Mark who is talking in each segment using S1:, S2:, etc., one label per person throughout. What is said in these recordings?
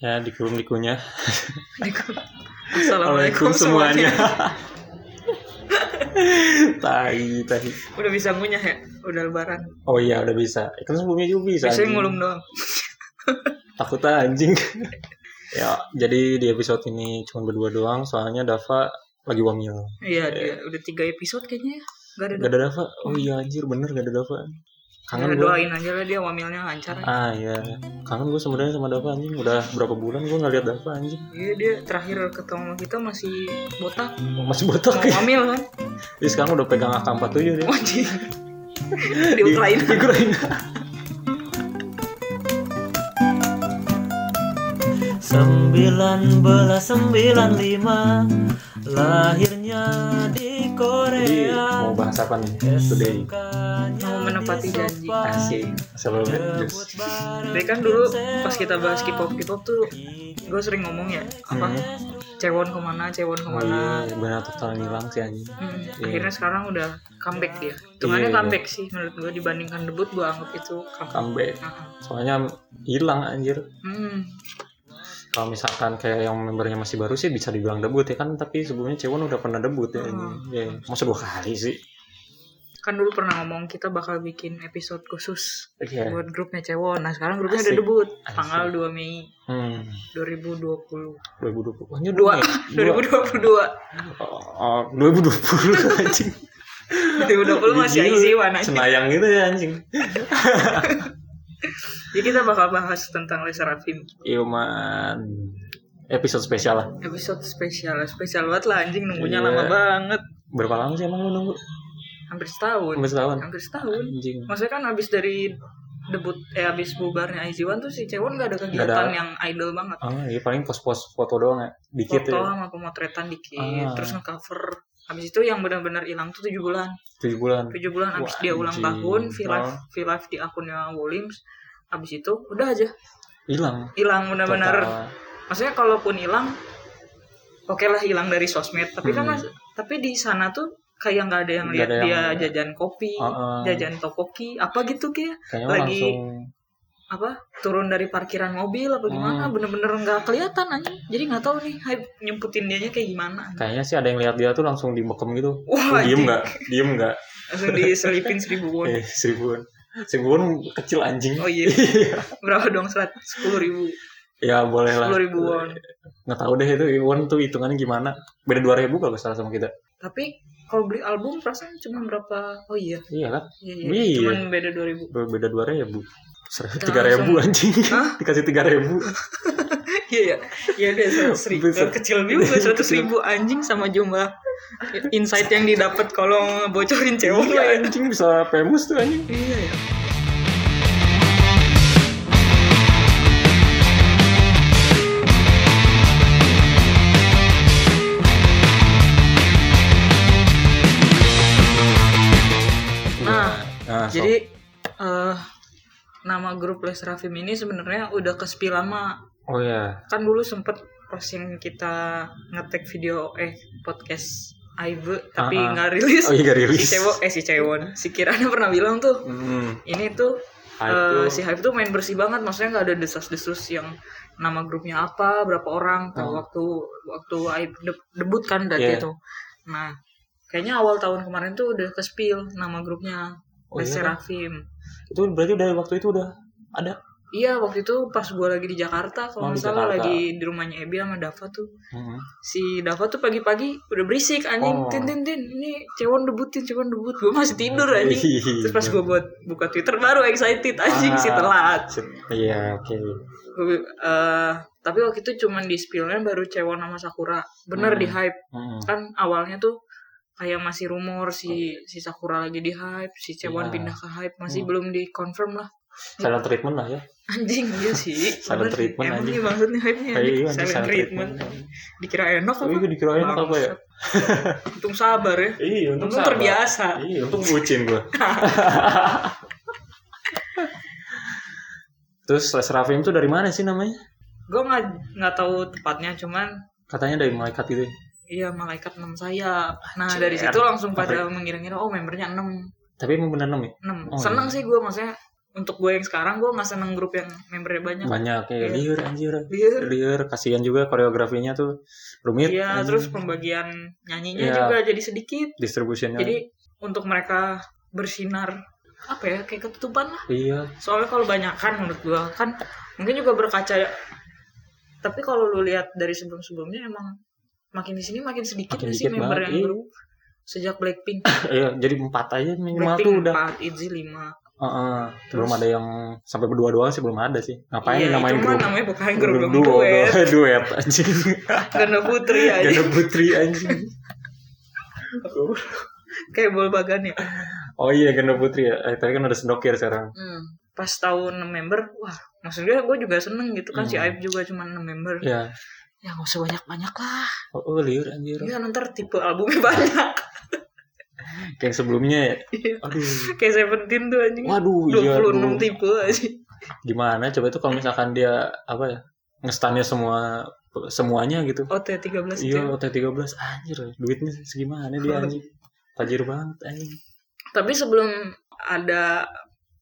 S1: Ya, dikurung dikunyah.
S2: Assalamualaikum semuanya.
S1: tai, tai.
S2: Udah bisa ngunyah ya? Udah lebaran.
S1: Oh iya, udah bisa. Eh, Kan sebelumnya juga bisa.
S2: Biasanya
S1: anjing.
S2: ngulum doang.
S1: Takut ah, anjing. ya, jadi di episode ini cuma berdua doang. Soalnya Dava lagi wamil.
S2: Iya, dia udah tiga episode kayaknya ya. Gak
S1: Gak
S2: ada
S1: ada Dava. Oh iya, anjir bener gak ada Dava. Kangen gue.
S2: Kangen doain aja lah dia wamilnya lancar.
S1: Ah iya, kangen gue sebenarnya sama Dava anjing. Udah berapa bulan gue gak liat Dava anjing.
S2: Iya, dia terakhir ketemu sama kita masih botak.
S1: Masih botak
S2: Mau
S1: ya.
S2: wamil kan?
S1: Jadi sekarang udah pegang AK-47 dia.
S2: Wajib.
S1: Iya.
S2: Di Ukraina.
S1: Di Ukraina.
S3: Sembilan belas sembilan lima lahirnya di
S1: Jadi
S3: Korea
S1: mau bahas apa nih today?
S2: Mau menepati janji.
S1: Asik.
S3: Ya,
S1: Sebelumnya just-
S2: Jadi kan dulu pas kita bahas K-pop, K-pop tuh gue sering ngomong ya apa cewon kemana cewon
S1: Oh
S2: kemana
S1: iya, benar total ngilang sih anjing.
S2: Hmm,
S1: Iya.
S2: akhirnya sekarang udah comeback dia. Hitungannya
S1: Iya, iya.
S2: comeback sih menurut gue dibandingkan debut gue anggap itu comeback.
S1: Comeback.
S2: Nah,
S1: Soalnya hilang anjir.
S2: Hmm,
S1: Kalau misalkan kayak yang membernya masih baru sih bisa dibilang debut ya kan, tapi sebelumnya Cewon udah pernah debut ya. anjing. Iya, Masa dua kali sih?
S2: kan dulu pernah ngomong kita bakal bikin episode khusus
S1: Iya.
S2: buat grupnya Cewon. Nah sekarang grupnya udah
S1: Asik.
S2: debut
S1: Asik.
S2: tanggal 2 Mei
S1: Hmm.
S2: 2020.
S1: 2020. Anjir
S2: Dua,
S1: dua.
S2: 2022.
S1: Oh, 2020 anjing.
S2: 2020 masih
S1: Gila.
S2: IC mana aja.
S1: Senayang gitu ya anjing.
S2: Jadi kita bakal bahas tentang Les Serafim.
S1: Ilman Iya, episode spesial lah.
S2: Episode spesial, spesial banget lah anjing nunggunya
S1: Iya.
S2: lama banget.
S1: Berapa lama sih emang lu nunggu?
S2: Hampir setahun.
S1: Hampir setahun.
S2: Hampir setahun.
S1: Anjing.
S2: Maksudnya kan abis dari debut eh abis bubarnya IZ1 tuh si Cewon gak ada
S1: Nggak
S2: kegiatan
S1: ada.
S2: yang idol banget.
S1: Ah, iya paling pos-pos foto doang ya. Dikit
S2: Foto
S1: ya.
S2: sama pemotretan dikit,
S1: Ah.
S2: terus ngecover. Abis itu yang benar-benar hilang tuh 7 bulan.
S1: 7 bulan.
S2: 7 bulan abis
S1: Wah,
S2: dia ulang
S1: anjing.
S2: tahun, V live,
S1: Oh.
S2: V live di akunnya Wolims. Abis itu udah aja
S1: Hilang.
S2: hilang benar-benar.
S1: Total.
S2: Maksudnya kalaupun hilang oke lah hilang dari sosmed, tapi kan
S1: Hmm.
S2: mas- tapi di sana tuh kayak nggak ada yang
S1: Nggak
S2: lihat
S1: ada
S2: dia
S1: yang-
S2: jajan kopi,
S1: Ah, ah.
S2: jajan tokoki, apa gitu kayak
S1: Kayaknya
S2: lagi-
S1: langsung
S2: apa turun dari parkiran mobil apa
S1: Hmm.
S2: gimana bener-bener nggak kelihatan aja jadi nggak tahu nih hype nyemputin dianya kayak gimana
S1: kayaknya sih ada yang lihat dia tuh langsung dibekem gitu. Lu
S2: wah
S1: diem
S2: Oh, anjing.
S1: nggak? Diem nggak?
S2: langsung diselipin seribu won
S1: Eh, seribuan. Seribuan kecil anjing.
S2: oh iya berapa dong serat sepuluh ribu
S1: ya boleh lah.
S2: sepuluh ribu won
S1: Nggak tahu deh itu Iwan tuh hitungannya gimana. Beda 2000 kalau nggak salah sama kita.
S2: tapi kalau beli album perasaan cuma berapa oh iya
S1: Iya kan?
S2: iya,
S1: Iya.
S2: iya. cuma beda dua ribu
S1: Beda 2000. Ser-
S2: Kita
S1: 3000 anjing.
S2: Hah?
S1: Dikasih 3000.
S2: iya iya iya udah seratus ribu
S1: Bisa.
S2: kecil juga seratus ribu anjing sama jumlah insight yang didapat kalau bocorin cewek
S1: Iya
S2: ya
S1: anjing bisa pemus tuh anjing.
S2: iya ya Nah,
S1: Nah, so-
S2: Jadi eh nama grup Les Rafim ini sebenarnya udah kesepi lama.
S1: oh ya,
S2: Kan dulu sempet posting kita ngetek video eh podcast Aibe tapi
S1: Ah, ah.
S2: nggak rilis.
S1: oh iya gak
S2: Si
S1: rilis.
S2: Cewo eh si Cewon, si Kirana pernah bilang tuh
S1: Hmm.
S2: ini tuh
S1: Ah,
S2: eh,
S1: itu-
S2: si Hype tuh main bersih banget, maksudnya nggak ada desas-desus yang nama grupnya apa, berapa orang, tuh
S1: Hmm.
S2: waktu waktu Hype de- debut kan berarti
S1: Iya.
S2: itu. Nah, kayaknya awal tahun kemarin tuh udah ke spill nama grupnya
S1: Oh,
S2: Les
S1: iya, kan?
S2: Serafim.
S1: itu berarti dari waktu itu udah ada.
S2: Iya waktu itu pas gue lagi di Jakarta
S1: Oh,
S2: kalau
S1: di
S2: nggak salah
S1: Jakarta.
S2: lagi di rumahnya Ebi sama Dava tuh
S1: Hmm.
S2: si Dava tuh pagi-pagi udah berisik anjing
S1: Oh.
S2: tin tin tin ini cewon debutin cewon debut gue masih tidur
S1: Iya,
S2: anjing terus pas gue buat buka Twitter baru excited anjing sih
S1: Ah.
S2: telat
S1: Shit. Iya, oke.
S2: Gua- eh, tapi waktu itu cuman di spillnya baru cewon sama Sakura bener
S1: Hmm.
S2: di hype
S1: Hmm.
S2: kan awalnya tuh kayak masih rumor si si Sakura lagi di hype si cewon
S1: Iya.
S2: pindah ke hype masih
S1: Hmm.
S2: belum di confirm lah
S1: Silent treatment lah ya.
S2: Anjing iya sih.
S1: Silent
S2: Bener sih.
S1: treatment,
S2: Emang
S1: anjing.
S2: nih maksudnya hype-nya
S1: Kayak
S2: anjing.
S1: iya, anjing,
S2: silent,
S1: silent
S2: treatment.
S1: treatment. Iya,
S2: Dikira enak
S1: Tapi
S2: apa?
S1: gue dikirain apa ya?
S2: Untung sabar ya.
S1: Iya,
S2: Untung
S1: sabar.
S2: terbiasa.
S1: Iya, untung bucin gue. Terus Les Rafim tuh dari mana sih namanya?
S2: Gue nggak nggak tahu tepatnya, cuman
S1: Katanya dari malaikat gitu. ya.
S2: iya malaikat enam sayap. Nah
S1: Anjir.
S2: dari situ langsung pada
S1: Apa
S2: mengira-ngira oh membernya enam
S1: Tapi emang bener enam ya?
S2: enam.
S1: Oh,
S2: Seneng sih gue maksudnya untuk gue yang sekarang gue nggak seneng grup yang membernya banyak
S1: banyak ya
S2: Iya.
S1: liur anjir
S2: Liur.
S1: liur kasihan juga koreografinya tuh rumit
S2: Iya,
S1: anjir.
S2: terus pembagian nyanyinya
S1: Iya.
S2: juga jadi sedikit.
S1: distribusinya
S2: Jadi untuk mereka bersinar apa ya kayak ketutupan lah.
S1: iya
S2: Soalnya kalau banyakan menurut gua kan mungkin juga berkaca ya. Tapi kalau lu lihat dari sebelum-sebelumnya emang makin di sini makin sedikit
S1: Makin
S2: ya sih
S1: dikit
S2: member
S1: banget,
S2: yang
S1: iya.
S2: baru sejak Blackpink.
S1: iya jadi empat aja minimal
S2: Blackpink
S1: tuh udah
S2: 4, ITZY 5.
S1: Heeh,
S2: Terus?
S1: belum ada yang sampai berdua doang sih belum ada sih ngapain
S2: Iya,
S1: namain
S2: itu mah
S1: grup
S2: namanya bukan grup dong,
S1: duo,
S2: duet. Iya,
S1: duo, duet anjing
S2: Ganda Putri aja.
S1: Ganda Putri anjing
S2: kayak Bol Bagan ya.
S1: oh iya Ganda Putri ya eh, tapi kan ada sedokir sekarang
S2: Hmm. Pas tahun 6 member, wah, maksudnya gue juga seneng gitu kan si
S1: Hmm.
S2: Aib juga cuma 6 member.
S1: ya
S2: Ya nggak usah banyak-banyak lah.
S1: oh, oh, liur anjir
S2: Iya ntar tipe albumnya banyak.
S1: kayak yang sebelumnya ya
S2: Iya.
S1: aduh
S2: Kayak Seventeen tuh anjing.
S1: waduh iya
S2: 26
S1: aduh.
S2: tipe anjing.
S1: gimana coba itu kalau misalkan dia apa ya ngestannya semua semuanya gitu
S2: OT 13 itu.
S1: iya
S2: ya.
S1: OT13 anjir duitnya segimana dia anjing tajir banget anjing
S2: Tapi sebelum ada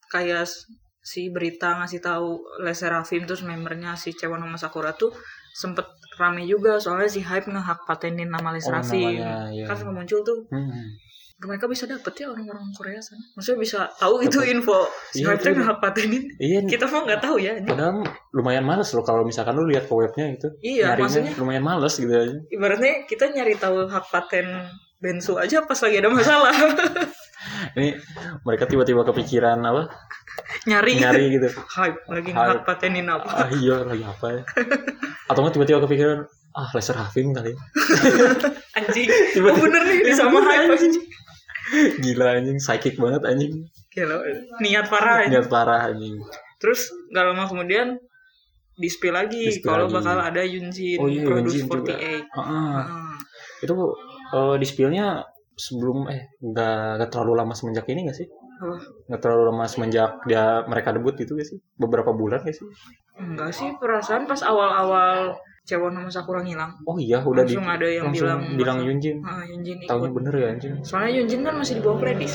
S2: kayak s- si berita ngasih tahu Les Serafim terus membernya si Cewon sama Sakura tuh sempet rame juga soalnya si Hype ngehak patenin nama Les
S1: Oh,
S2: Serafim.
S1: namanya, iya.
S2: Kan suka muncul tuh
S1: hmm.
S2: mereka bisa dapet ya orang-orang Korea sana. Maksudnya bisa tahu itu info si
S1: Iya,
S2: Hype tuh
S1: itu-
S2: ngehak patenin.
S1: iya
S2: Kita mah nggak tahu ya ini.
S1: padahal lumayan males loh kalau misalkan lu lihat ke webnya gitu
S2: Iya,
S1: Nyarinya
S2: maksudnya-
S1: lumayan males gitu aja
S2: ibaratnya kita nyari tahu hak paten bensu aja pas lagi ada masalah
S1: ini mereka tiba-tiba kepikiran apa
S2: nyari,
S1: nyari gitu
S2: hype lagi
S1: Hype.
S2: hak patenin apa
S1: ah iya lagi apa ya atau nggak tiba-tiba kepikiran ah laser having kali ya.
S2: anjing
S1: Tiba-
S2: oh bener nih ini sama hype anjing
S1: gila anjing psychic banget anjing
S2: Gila, eh, niat parah anjing.
S1: niat parah anjing
S2: terus gak lama kemudian di-spill lagi
S1: Di-spill
S2: kalau
S1: lagi.
S2: bakal ada Yunjin
S1: Oh iya,
S2: Produce
S1: Yunjin juga.
S2: 48
S1: Heeh.
S2: Hmm.
S1: itu eh, dispilnya sebelum eh nggak nggak terlalu lama semenjak ini nggak sih
S2: Apa?
S1: nggak terlalu lama semenjak dia mereka debut gitu gak sih beberapa bulan gak sih
S2: enggak sih perasaan pas awal-awal Cewon sama Sakura ngilang
S1: oh iya udah di-
S2: Langsung ada yang
S1: langsung
S2: bilang-
S1: bilang Yunjin
S2: Ah, Yunjin ikut
S1: tahunya bener ya anjing
S2: soalnya Yunjin kan masih di bawah Pledis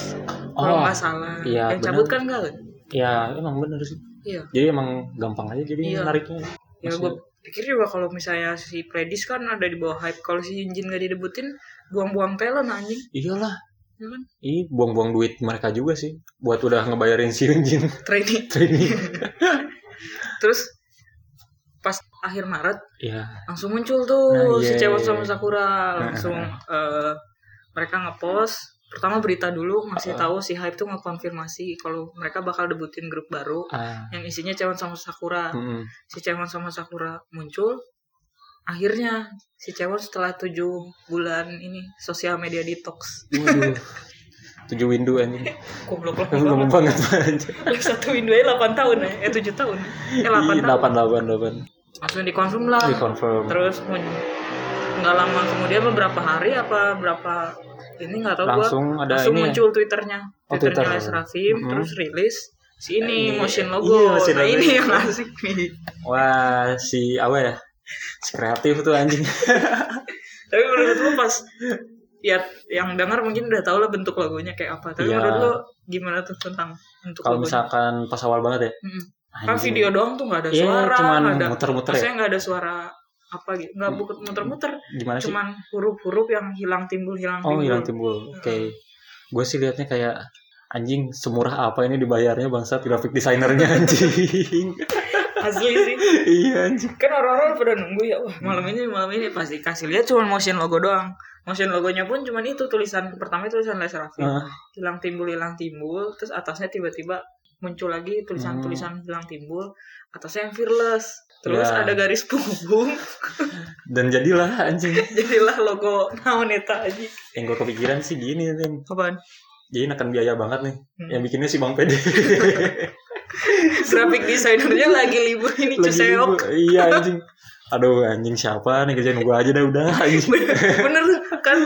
S2: kalau
S1: Oh,
S2: nggak salah
S1: iya,
S2: yang cabut
S1: bener.
S2: kan Gaun
S1: ya emang bener sih
S2: iya
S1: jadi emang gampang aja jadi
S2: Iya.
S1: nariknya
S2: ya
S1: Maksudnya-
S2: gue pikir juga kalau misalnya si Pledis kan ada di bawah hype kalau si Yunjin gak didebutin buang-buang talent anjing
S1: iyalah
S2: ya kan
S1: Ih, buang-buang duit mereka juga sih buat udah ngebayarin si Yunjin
S2: trainee
S1: training.
S2: terus pas akhir Maret
S1: ya,
S2: langsung muncul tuh
S1: Nah,
S2: si
S1: iya,
S2: Cewon
S1: iya, Nah,
S2: sama
S1: iya.
S2: Sakura langsung eh, mereka ngepost pertama berita dulu ngasih
S1: Heeh.
S2: tahu si hype tuh ngekonfirmasi kalau mereka bakal debutin grup baru
S1: ah,
S2: yang isinya Cewon sama Sakura
S1: mm-mm.
S2: si Cewon sama Sakura muncul akhirnya si Cewon setelah tujuh bulan ini sosial media detox
S1: Waduh. tujuh window anjing,
S2: goblok lah
S1: lama
S2: banget.
S1: banget anjing.
S2: satu Indo aja 8 tahun ya eh 7 tahun
S1: Ih,
S2: eh 8 tahun
S1: delapan delapan delapan,
S2: langsung dikonfirm lah
S1: Ih, confirm.
S2: Ah. terus mun- nggak lama kemudian beberapa hari apa berapa ini nggak tahu gua
S1: Langsung ada
S2: langsung
S1: ini ya?
S2: muncul twitternya
S1: Oh, Twitter.
S2: twitternya Les Rafim
S1: Mhm.
S2: terus rilis si ini
S1: Ini-
S2: motion
S1: iya,
S2: logo
S1: motion
S2: nah
S1: logo.
S2: ini yang asik nih
S1: Wah, si apa ya? Si kreatif tuh anjing.
S2: tapi menurut lu pas ya yang dengar mungkin udah tau lah bentuk logonya kayak apa tapi
S1: Iya.
S2: menurut lu gimana tuh tentang bentuk
S1: Kalau
S2: logonya
S1: misalkan pas awal banget ya.
S2: Mm-mm. kan
S1: anjing.
S2: video doang tuh nggak ada
S1: Iya,
S2: suara
S1: cuman
S2: nggak ada
S1: muter-muter ya? Hmm.
S2: maksudnya nggak ada suara apa gitu nggak bukut muter-muter
S1: Gimana sih?
S2: cuman huruf-huruf yang hilang timbul hilang
S1: oh,
S2: timbul
S1: hilang timbul. Oke. Gue sih liatnya kayak anjing semurah apa ini dibayarnya bangsa grafik desainernya anjing.
S2: asli sih
S1: iya anjing.
S2: kan orang-orang pada nunggu ya wah malam
S1: Hmm.
S2: ini malam ini pasti kasih lihat cuman motion logo doang motion logonya pun cuman itu tulisan pertama tulisan Les Raffi
S1: Ah,
S2: hilang timbul hilang timbul terus atasnya tiba-tiba muncul lagi tulisan-tulisan hilang timbul atasnya yang fearless terus
S1: Hmm. Ya.
S2: ada garis punggung
S1: dan jadilah anjing.
S2: jadilah logo naoneta aja
S1: yang gue kepikiran sih gini Tim.
S2: apaan
S1: jadi akan biaya banget nih
S2: Hmm.
S1: yang bikinnya si bang pede
S2: grafik desainernya lagi libur ini
S1: Lagi
S2: cuseok
S1: libur. iya anjing aduh anjing siapa nih kerjaan gue aja dah udah anjing
S2: bener, bener kan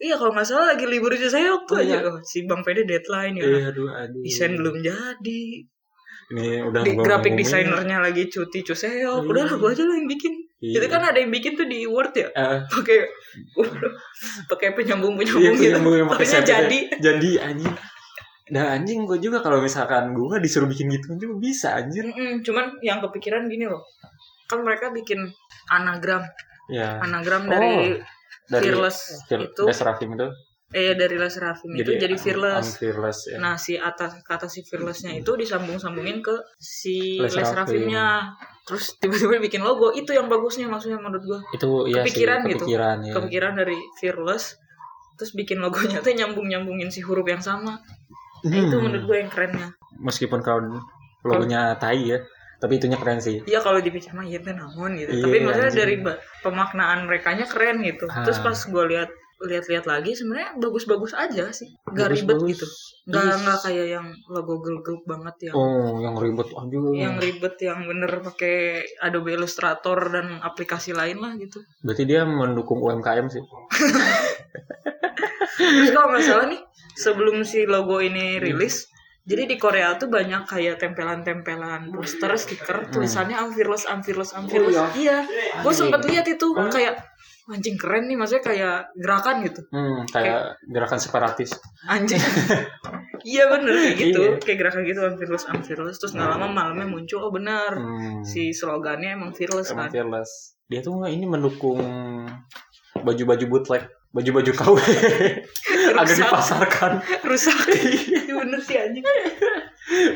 S2: iya kalau nggak salah lagi libur cuseok tuh
S1: Iya.
S2: aja Oh, si bang pede deadline ya
S1: Iya, aduh, aduh.
S2: desain belum jadi
S1: Ini udah
S2: di
S1: gua
S2: grafik
S1: ngomongin.
S2: desainernya lagi cuti cuseo
S1: Iya.
S2: udah lah gua aja lah yang bikin
S1: Iya.
S2: itu kan ada yang bikin tuh di word ya
S1: Eh,
S2: pakai pakai penyambung
S1: iya,
S2: penyambung gitu
S1: penyambung yang pakai
S2: Akhirnya
S1: sayap itu.
S2: jadi
S1: Jadi anjing. Nah anjing gue juga kalau misalkan gue disuruh bikin gitu juga bisa anjir.
S2: Mm-mm, cuman yang kepikiran gini loh kan mereka bikin anagram
S1: Ya
S2: anagram dari
S1: dari
S2: fearless
S1: Fear-
S2: itu
S1: Best Rafim itu
S2: eh dari laser Rafim itu jadi
S1: I'm-
S2: fearless
S1: I'm fearless ya.
S2: Nah, si atas kata si fearlessnya itu disambung-sambungin ke si
S1: Les
S2: Les
S1: Rafim.
S2: Rafimnya. Terus tiba-tiba bikin logo. Itu yang bagusnya maksudnya menurut gua.
S1: itu ya
S2: kepikiran
S1: sih,
S2: gitu.
S1: kepikiran ya.
S2: Kepikiran dari fearless terus bikin logonya tuh nyambung-nyambungin si huruf yang sama. Nah,
S1: Hmm.
S2: Itu menurut gue yang kerennya.
S1: Meskipun kalau logonya tai ya, tapi itunya keren sih.
S2: Iya kalau dipikir mah iya teh naon gitu.
S1: Iya,
S2: Tapi maksudnya
S1: anjing.
S2: dari ba- pemaknaan merekanya keren gitu. Terus
S1: Ah.
S2: pas gue lihat lihat-lihat lagi sebenarnya bagus-bagus aja sih. Gak
S1: Bagus,
S2: ribet
S1: bagus.
S2: gitu. Gak
S1: Terus-
S2: nggak kayak yang logo gelgel banget yang
S1: Oh, iya. yang ribet aja.
S2: yang ribet yang bener pakai Adobe Illustrator dan aplikasi lain lah gitu.
S1: Berarti dia mendukung UMKM sih.
S2: Terus kalau nggak salah nih sebelum si logo ini rilis, jadi di Korea tuh banyak kayak tempelan-tempelan poster,
S1: Hmm.
S2: stiker, tulisannya I'm fearless, I'm fearless,
S1: Oh,
S2: I'm fearless. Iya, gue sempet lihat itu kayak anjing keren nih, maksudnya kayak gerakan gitu.
S1: Hmm, kayak gerakan separatis.
S2: Anjing. iya bener kayak gitu,
S1: Iya.
S2: kayak gerakan gitu I'm fearless, I'm fearless. Terus nggak lama malamnya muncul oh benar
S1: Hmm.
S2: si slogannya emang fearless
S1: Emang
S2: kan.
S1: fearless. Dia tuh nggak ini mendukung baju-baju bootleg, baju-baju KW ada
S2: Rusak.
S1: dipasarkan
S2: rusak iya bener sih anjing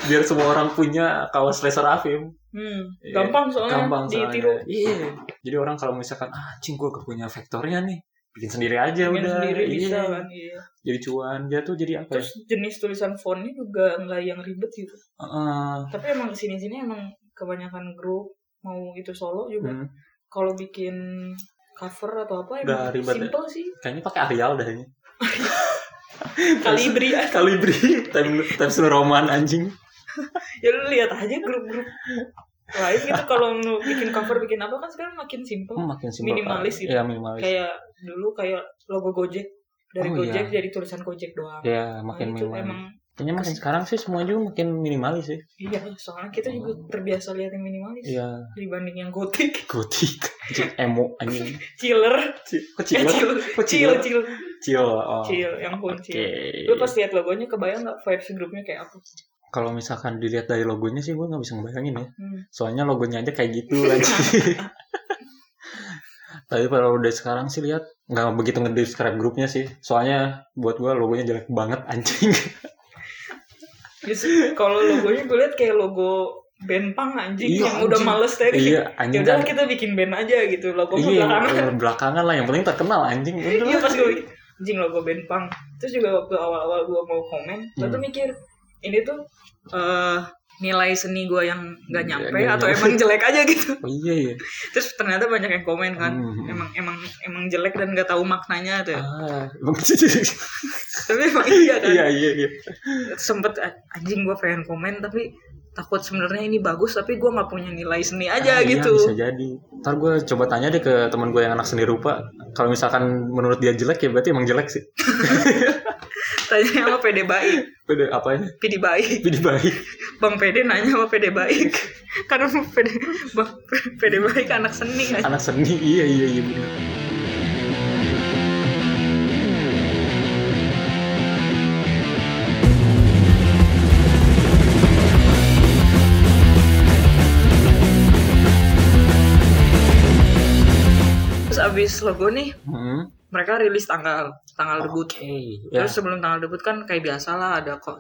S1: biar semua orang punya kaos laser Afim.
S2: hmm,
S1: Iya,
S2: gampang soalnya
S1: Gampang soalnya.
S2: ditiru
S1: Iya. Jadi orang kalau misalkan ah anjing gua gak punya vektornya nih, bikin sendiri aja
S2: Main
S1: udah.
S2: sendiri
S1: Iya.
S2: bisa kan iya.
S1: Jadi cuan dia tuh jadi apa? ya?
S2: terus jenis tulisan fontnya juga nggak yang ribet gitu
S1: Heeh.
S2: tapi emang kesini sini emang kebanyakan grup mau itu solo juga
S1: Hmm.
S2: kalau bikin cover atau apa
S1: Nggak
S2: emang
S1: ribet ya?
S2: simple sih
S1: Kayaknya pakai Arial dah ini.
S2: kalibri
S1: Kalibri, time time slow roman anjing.
S2: ya lu lihat aja grup-grup lain gitu kalau lu bikin cover bikin apa kan sekarang makin
S1: Oh,
S2: simple
S1: makin simpel.
S2: Minimalis
S1: Pak.
S2: gitu.
S1: Iya, minimalis.
S2: kayak dulu kayak logo Gojek dari
S1: Oh,
S2: Gojek jadi tulisan Gojek doang
S1: Iya,
S2: Nah,
S1: makin
S2: itu
S1: minimalis.
S2: emang
S1: Kayaknya makin sekarang sih semua juga makin minimalis sih.
S2: Iya, soalnya kita juga terbiasa lihat yang minimalis
S1: Oh. Iya,
S2: dibanding yang gotik,
S1: gotik, anjing, emo anjing.
S2: chiller, eh
S1: Kecil,
S2: chill, chill, chill,
S1: kecil. Oh.
S2: chill, yang pun
S1: Oke.
S2: chill. Lu pas lihat logonya kebayang nggak vibes grupnya kayak apa?
S1: Kalau misalkan dilihat dari logonya sih gue nggak bisa ngebayangin ya.
S2: Hmm.
S1: Soalnya logonya aja kayak gitu anjing. Tapi kalau udah sekarang sih lihat nggak begitu nge-describe grupnya sih. Soalnya buat gue logonya jelek banget anjing.
S2: Terus kalau logonya gue lihat kayak logo band punk anjing
S1: Iya,
S2: yang udah
S1: anjing.
S2: males tadi.
S1: iya, anjing kan.
S2: Yaudah Ya kita bikin band aja gitu, logo
S1: Iya,
S2: belakangan.
S1: belakangan. belakangan lah yang penting terkenal anjing. Udah
S2: Iya
S1: lah.
S2: pas gue bikin, anjing logo band punk. Terus juga waktu awal-awal gue mau komen, gue tuh
S1: Hmm.
S2: mikir ini tuh eh nilai seni gue yang nggak
S1: Iya,
S2: nyampe
S1: nggak
S2: atau
S1: nyampe.
S2: emang jelek aja gitu.
S1: Oh, iya iya.
S2: terus ternyata banyak yang komen kan
S1: Hmm.
S2: emang emang emang jelek dan gak tahu maknanya tuh ya.
S1: Ah, emang
S2: tapi emang iya kan
S1: iya iya iya.
S2: sempet "Ah, anjing gue pengen komen tapi takut sebenarnya ini bagus tapi gue nggak punya nilai seni aja
S1: Ah, iya,
S2: gitu
S1: bisa jadi. Ntar gue coba tanya deh ke teman gue yang anak seni rupa. Kalau misalkan menurut dia jelek ya berarti emang jelek sih.
S2: tanya sama PD baik
S1: Beda apanya?
S2: PD baik
S1: Jadi baik.
S2: bang PD nanya sama PD baik karena PD bang PD baik anak seni kan
S1: Anak seni. Iya iya iya. bener.
S2: terus abis logo nih
S1: Hmm.
S2: mereka rilis tanggal tanggal debut
S1: Oke. Ya.
S2: terus sebelum tanggal debut kan kayak biasa lah ada kok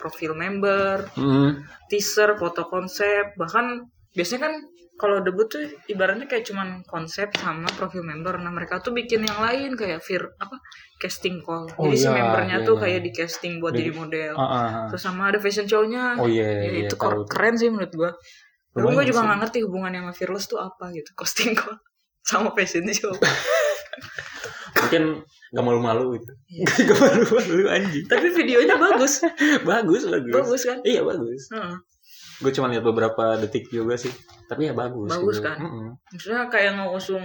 S2: profil member
S1: Hmm.
S2: teaser, foto konsep, bahkan biasanya kan kalau debut tuh ibaratnya kayak cuman konsep sama profil member. Nah, mereka tuh bikin yang lain kayak fir apa casting call.
S1: Oh,
S2: jadi si
S1: iya,
S2: membernya
S1: iya,
S2: tuh
S1: iya.
S2: kayak di casting buat
S1: Di-
S2: jadi model.
S1: Ah, ah, ah.
S2: Terus sama ada fashion show-nya.
S1: Oh iya iya.
S2: Ya, itu
S1: tahu.
S2: keren sih menurut gua. Tapi
S1: Lumayan
S2: gua juga
S1: sih.
S2: nggak ngerti hubungannya sama fearless tuh apa gitu. Casting call sama fashion show.
S1: Mungkin gak malu-malu gitu.
S2: Iya.
S1: gak malu-malu anjing.
S2: Tapi videonya bagus.
S1: Bagus bagus.
S2: bagus kan?
S1: Iya bagus.
S2: Heeh.
S1: Gue cuma lihat beberapa detik juga sih. Tapi ya bagus. gitu.
S2: Bagus kan?
S1: Mm-mm.
S2: Maksudnya kayak ngusung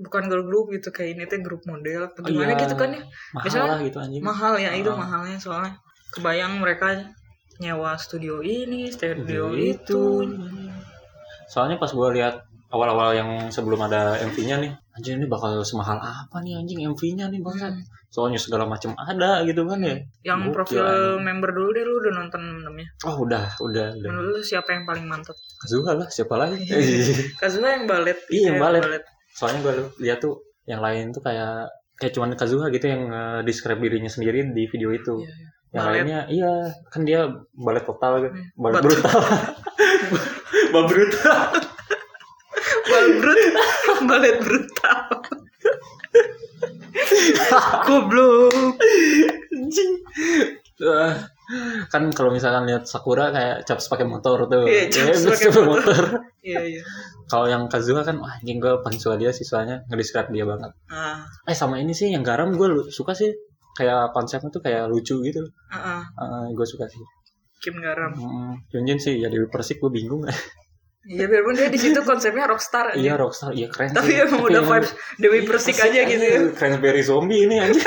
S2: bukan girl group gitu kayak ini teh grup model atau
S1: Oh,
S2: gimana
S1: iya.
S2: gitu kan ya.
S1: Mahal
S2: Biasanya-
S1: lah gitu anjing.
S2: mahal ya itu
S1: Ah.
S2: mahalnya soalnya kebayang mereka nyewa studio ini
S1: Video
S2: studio ya, itu
S1: Gitu. Soalnya pas gue lihat awal-awal yang sebelum ada MV-nya nih anjing ini bakal semahal apa nih anjing MV-nya nih bangsat
S2: Hmm.
S1: soalnya segala macam ada gitu kan ya Gokil,
S2: Yang profil
S1: anjing.
S2: member dulu deh lu udah nonton enamnya.
S1: oh udah udah udah
S2: Menurut lu siapa yang paling mantep?
S1: Kazuha lah siapa lagi
S2: Kazuha yang balet.
S1: Iya, yang
S2: Eh,
S1: balet. soalnya gue lihat tuh yang lain tuh kayak kayak cuman Kazuha gitu yang describe dirinya sendiri di video itu
S2: Iya, iya.
S1: yang
S2: Balet.
S1: lainnya iya kan dia balet total kan
S2: Hmm.
S1: balet
S2: Bat-
S1: brutal balet brutal
S2: Balet brutal. balet brutal. Goblok.
S1: Eh, kan kalau misalkan lihat Sakura kayak caps pakai motor tuh
S2: Iya, Chaps
S1: Iya,
S2: pakai
S1: Chaps pakai
S2: motor.
S1: motor
S2: Iya iya.
S1: kalau yang Kazuha kan wah anjing gue paling suka dia sisanya ngedescribe dia banget
S2: Ah,
S1: eh sama ini sih yang garam gue suka sih kayak konsepnya tuh kayak lucu gitu
S2: ah, ah.
S1: gue suka sih
S2: Kim Garam.
S1: Hmm, Yunjin sih ya Dewi Persik gue bingung
S2: Iya biarpun dia di situ konsepnya rockstar.
S1: iya rockstar iya keren
S2: Tapi
S1: sih.
S2: emang udah
S1: yang-
S2: vibes Dewi Persik aja gitu ya.
S1: Cranberry zombie ini aja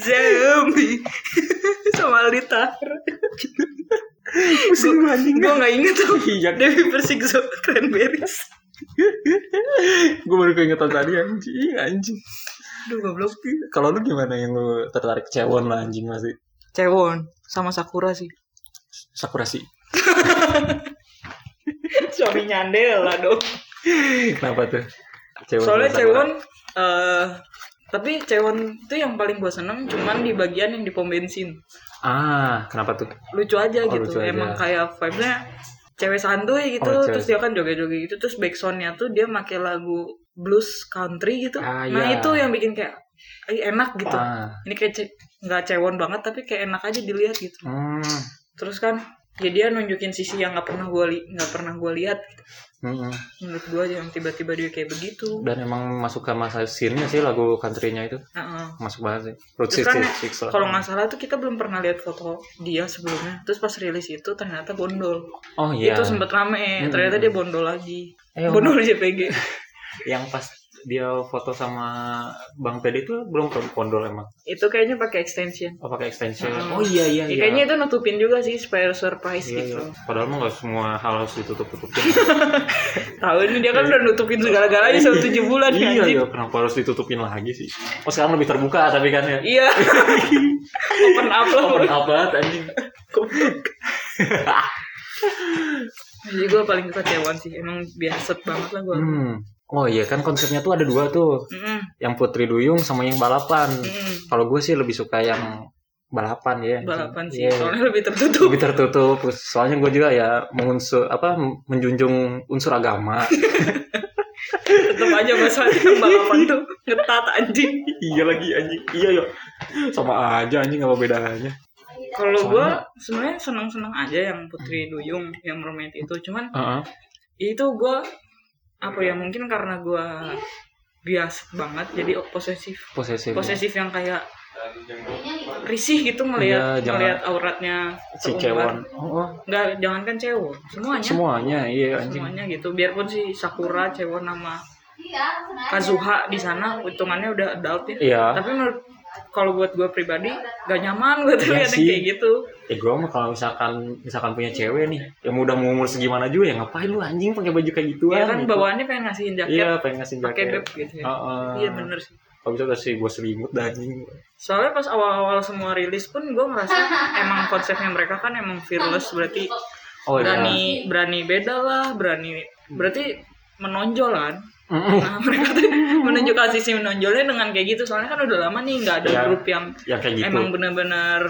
S2: Zombie sama Aldita. Pusing anjing. Gue gak inget tuh.
S1: Iya.
S2: Dewi Persik sama Cranberries.
S1: gue baru keingetan tadi anjing anjing
S2: Aduh goblok.
S1: kalau lu gimana yang lu tertarik cewon lah anjing masih
S2: Cewon sama Sakura sih.
S1: Sakura sih
S2: Suami nyandel lah dong.
S1: kenapa tuh Cewon
S2: Soalnya
S1: sama Sakura.
S2: Cewon eh tapi Cewon itu yang paling gue seneng cuman di bagian yang di pom bensin.
S1: ah kenapa tuh
S2: Lucu
S1: Oh,
S2: aja
S1: lucu
S2: gitu.
S1: aja.
S2: Emang kayak vibe-nya cewek santuy gitu
S1: Oh, cewek.
S2: terus dia kan joget-joget gitu terus backsoundnya tuh dia make lagu blues country gitu
S1: Ah,
S2: nah
S1: iya.
S2: itu yang bikin kayak "Ih, enak gitu
S1: ah
S2: ini kayak ce- nggak cewon banget tapi kayak enak aja dilihat gitu
S1: hmm,
S2: terus kan ya dia nunjukin sisi yang nggak pernah gue nggak pernah gue lihat gitu.
S1: hmm.
S2: menurut gue yang tiba-tiba dia kayak begitu
S1: dan emang masuk ke masa scene-nya sih lagu country-nya itu
S2: Heeh.
S1: masuk banget sih Route
S2: Terus kan
S1: 66 lah
S2: kalau nggak salah tuh kita belum pernah lihat foto dia sebelumnya terus pas rilis itu ternyata bondol
S1: oh iya
S2: itu sempet rame
S1: Mm-mm.
S2: ternyata dia bondol lagi
S1: Eh,
S2: bondol JPG
S1: yang pas dia foto sama Bang Pede itu belum ke kondol emang
S2: itu kayaknya pakai extension
S1: oh pakai extension
S2: Hmm.
S1: oh iya iya
S2: Ya,
S1: iya
S2: kayaknya itu nutupin juga sih supaya surprise
S1: Iya,
S2: gitu
S1: iya. Padahal mah gak semua hal harus ditutup-tutupin.
S2: tahu ini dia kan udah nutupin segala-galanya selama tujuh bulan ya,
S1: iya,
S2: anjing.
S1: iya, kenapa harus ditutupin lagi sih? Oh sekarang lebih terbuka tapi kan ya.
S2: Iya. Open up lah.
S1: Open up banget anjing.
S2: Jadi gue paling suka Cewon sih. Emang biasa banget lah gue.
S1: Hmm. Oh iya kan konsepnya tuh ada dua tuh,
S2: Mm-mm,
S1: yang Putri Duyung sama yang balapan.
S2: mm-mm.
S1: Kalau gue sih lebih suka yang balapan ya.
S2: Balapan sih.
S1: Iya.
S2: Soalnya lebih tertutup.
S1: lebih tertutup. Terus, Soalnya gue juga ya mengunsur apa menjunjung unsur agama.
S2: Tetep aja masalahnya yang balapan tuh ngetat anjing.
S1: iya lagi anjing. Iya ya. Sama aja anjing apa bedanya?
S2: Kalau gue
S1: Soalnya- Hmm.
S2: sebenarnya seneng-seneng aja yang Putri Duyung yang mermaid itu. Cuman
S1: Heeh.
S2: itu gue apa ya mungkin karena gue bias banget jadi posesif
S1: Posesif.
S2: posesif yang kayak risih gitu melihat
S1: Iya, jangan-
S2: melihat auratnya
S1: si
S2: terumbar.
S1: Cewon. Oh, oh.
S2: nggak jangankan cewek semuanya
S1: semuanya iya anjing.
S2: semuanya gitu biarpun si Sakura Cewon nama Kazuha di sana hitungannya udah adult ya
S1: Iya.
S2: tapi menurut kalau buat gue pribadi gak nyaman gue tuh
S1: Iya
S2: liat yang
S1: sih.
S2: kayak gitu
S1: Ya gue mah kalau misalkan misalkan punya cewek nih, yang udah mau umur segimana juga ya ngapain lu anjing pakai baju kayak gituan?
S2: ya kan
S1: gitu.
S2: bawaannya pengen ngasihin
S1: Iya,
S2: jaket
S1: pengen ngasih
S2: pakai
S1: jaket. Ah.
S2: beb gitu ya
S1: Heeh.
S2: iya bener sih
S1: Kalau bisa kasih gue selimut dah anjing.
S2: soalnya pas awal-awal semua rilis pun gue ngerasa emang konsepnya mereka kan emang fearless berarti
S1: Oh
S2: berani berani beda lah berani
S1: Hmm.
S2: berarti menonjol kan
S1: Mm-mm.
S2: nah, mereka tuh menunjukkan sisi menonjolnya dengan kayak gitu soalnya kan udah lama nih nggak ada
S1: Iya.
S2: grup yang
S1: Yang kayak gitu.
S2: emang benar-benar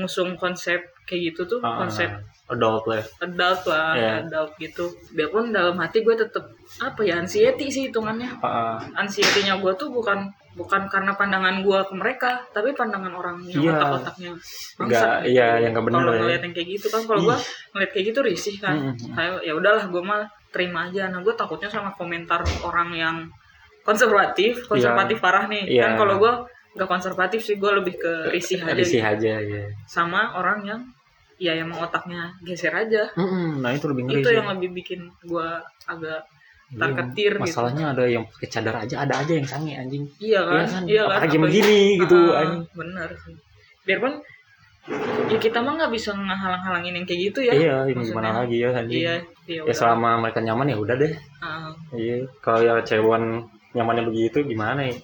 S2: ngusung konsep kayak gitu tuh
S1: Heeh.
S2: konsep
S1: adult lah.
S2: adult lah
S1: Iya.
S2: adult gitu biarpun dalam hati gue tetep apa ya anxiety sih hitungannya
S1: Heeh.
S2: anxiety-nya gue tuh bukan bukan karena pandangan gue ke mereka tapi pandangan orangnya
S1: Iya.
S2: otak-otaknya gitu.
S1: Nggak- iya, yang nggak bener
S2: kalau
S1: ya.
S2: ngeliat yang kayak gitu kan kalau gue ngeliat kayak gitu risih kan
S1: Mm-mm.
S2: kayak ya udahlah gue mah terima aja nah gue takutnya sama komentar orang yang konservatif konservatif parah nih
S1: Iya.
S2: kan kalau gue nggak konservatif sih gue lebih ke risih aja
S1: Risih aja
S2: gitu.
S1: ya.
S2: sama orang yang ya emang otaknya geser aja
S1: Mm-mm. Nah itu lebih ngeri
S2: itu
S1: sih.
S2: yang lebih bikin gue agak
S1: Iya,
S2: terketir gitu.
S1: Masalahnya ada yang pakai cadar aja, ada aja yang sange anjing.
S2: iya kan
S1: Iya kan?
S2: iya kan
S1: Apalagi
S2: Apalagi-
S1: begini gitu
S2: Ah,
S1: anjing.
S2: bener sih biarpun ya kita mah nggak bisa ngehalang-halangin yang kayak gitu ya
S1: iya ya,
S2: maksudnya.
S1: gimana lagi ya anjing
S2: iya iya
S1: ya
S2: udah.
S1: selama mereka nyaman ya udah deh
S2: Ah,
S1: iya kalau ya cewon nyamannya begitu gimana ya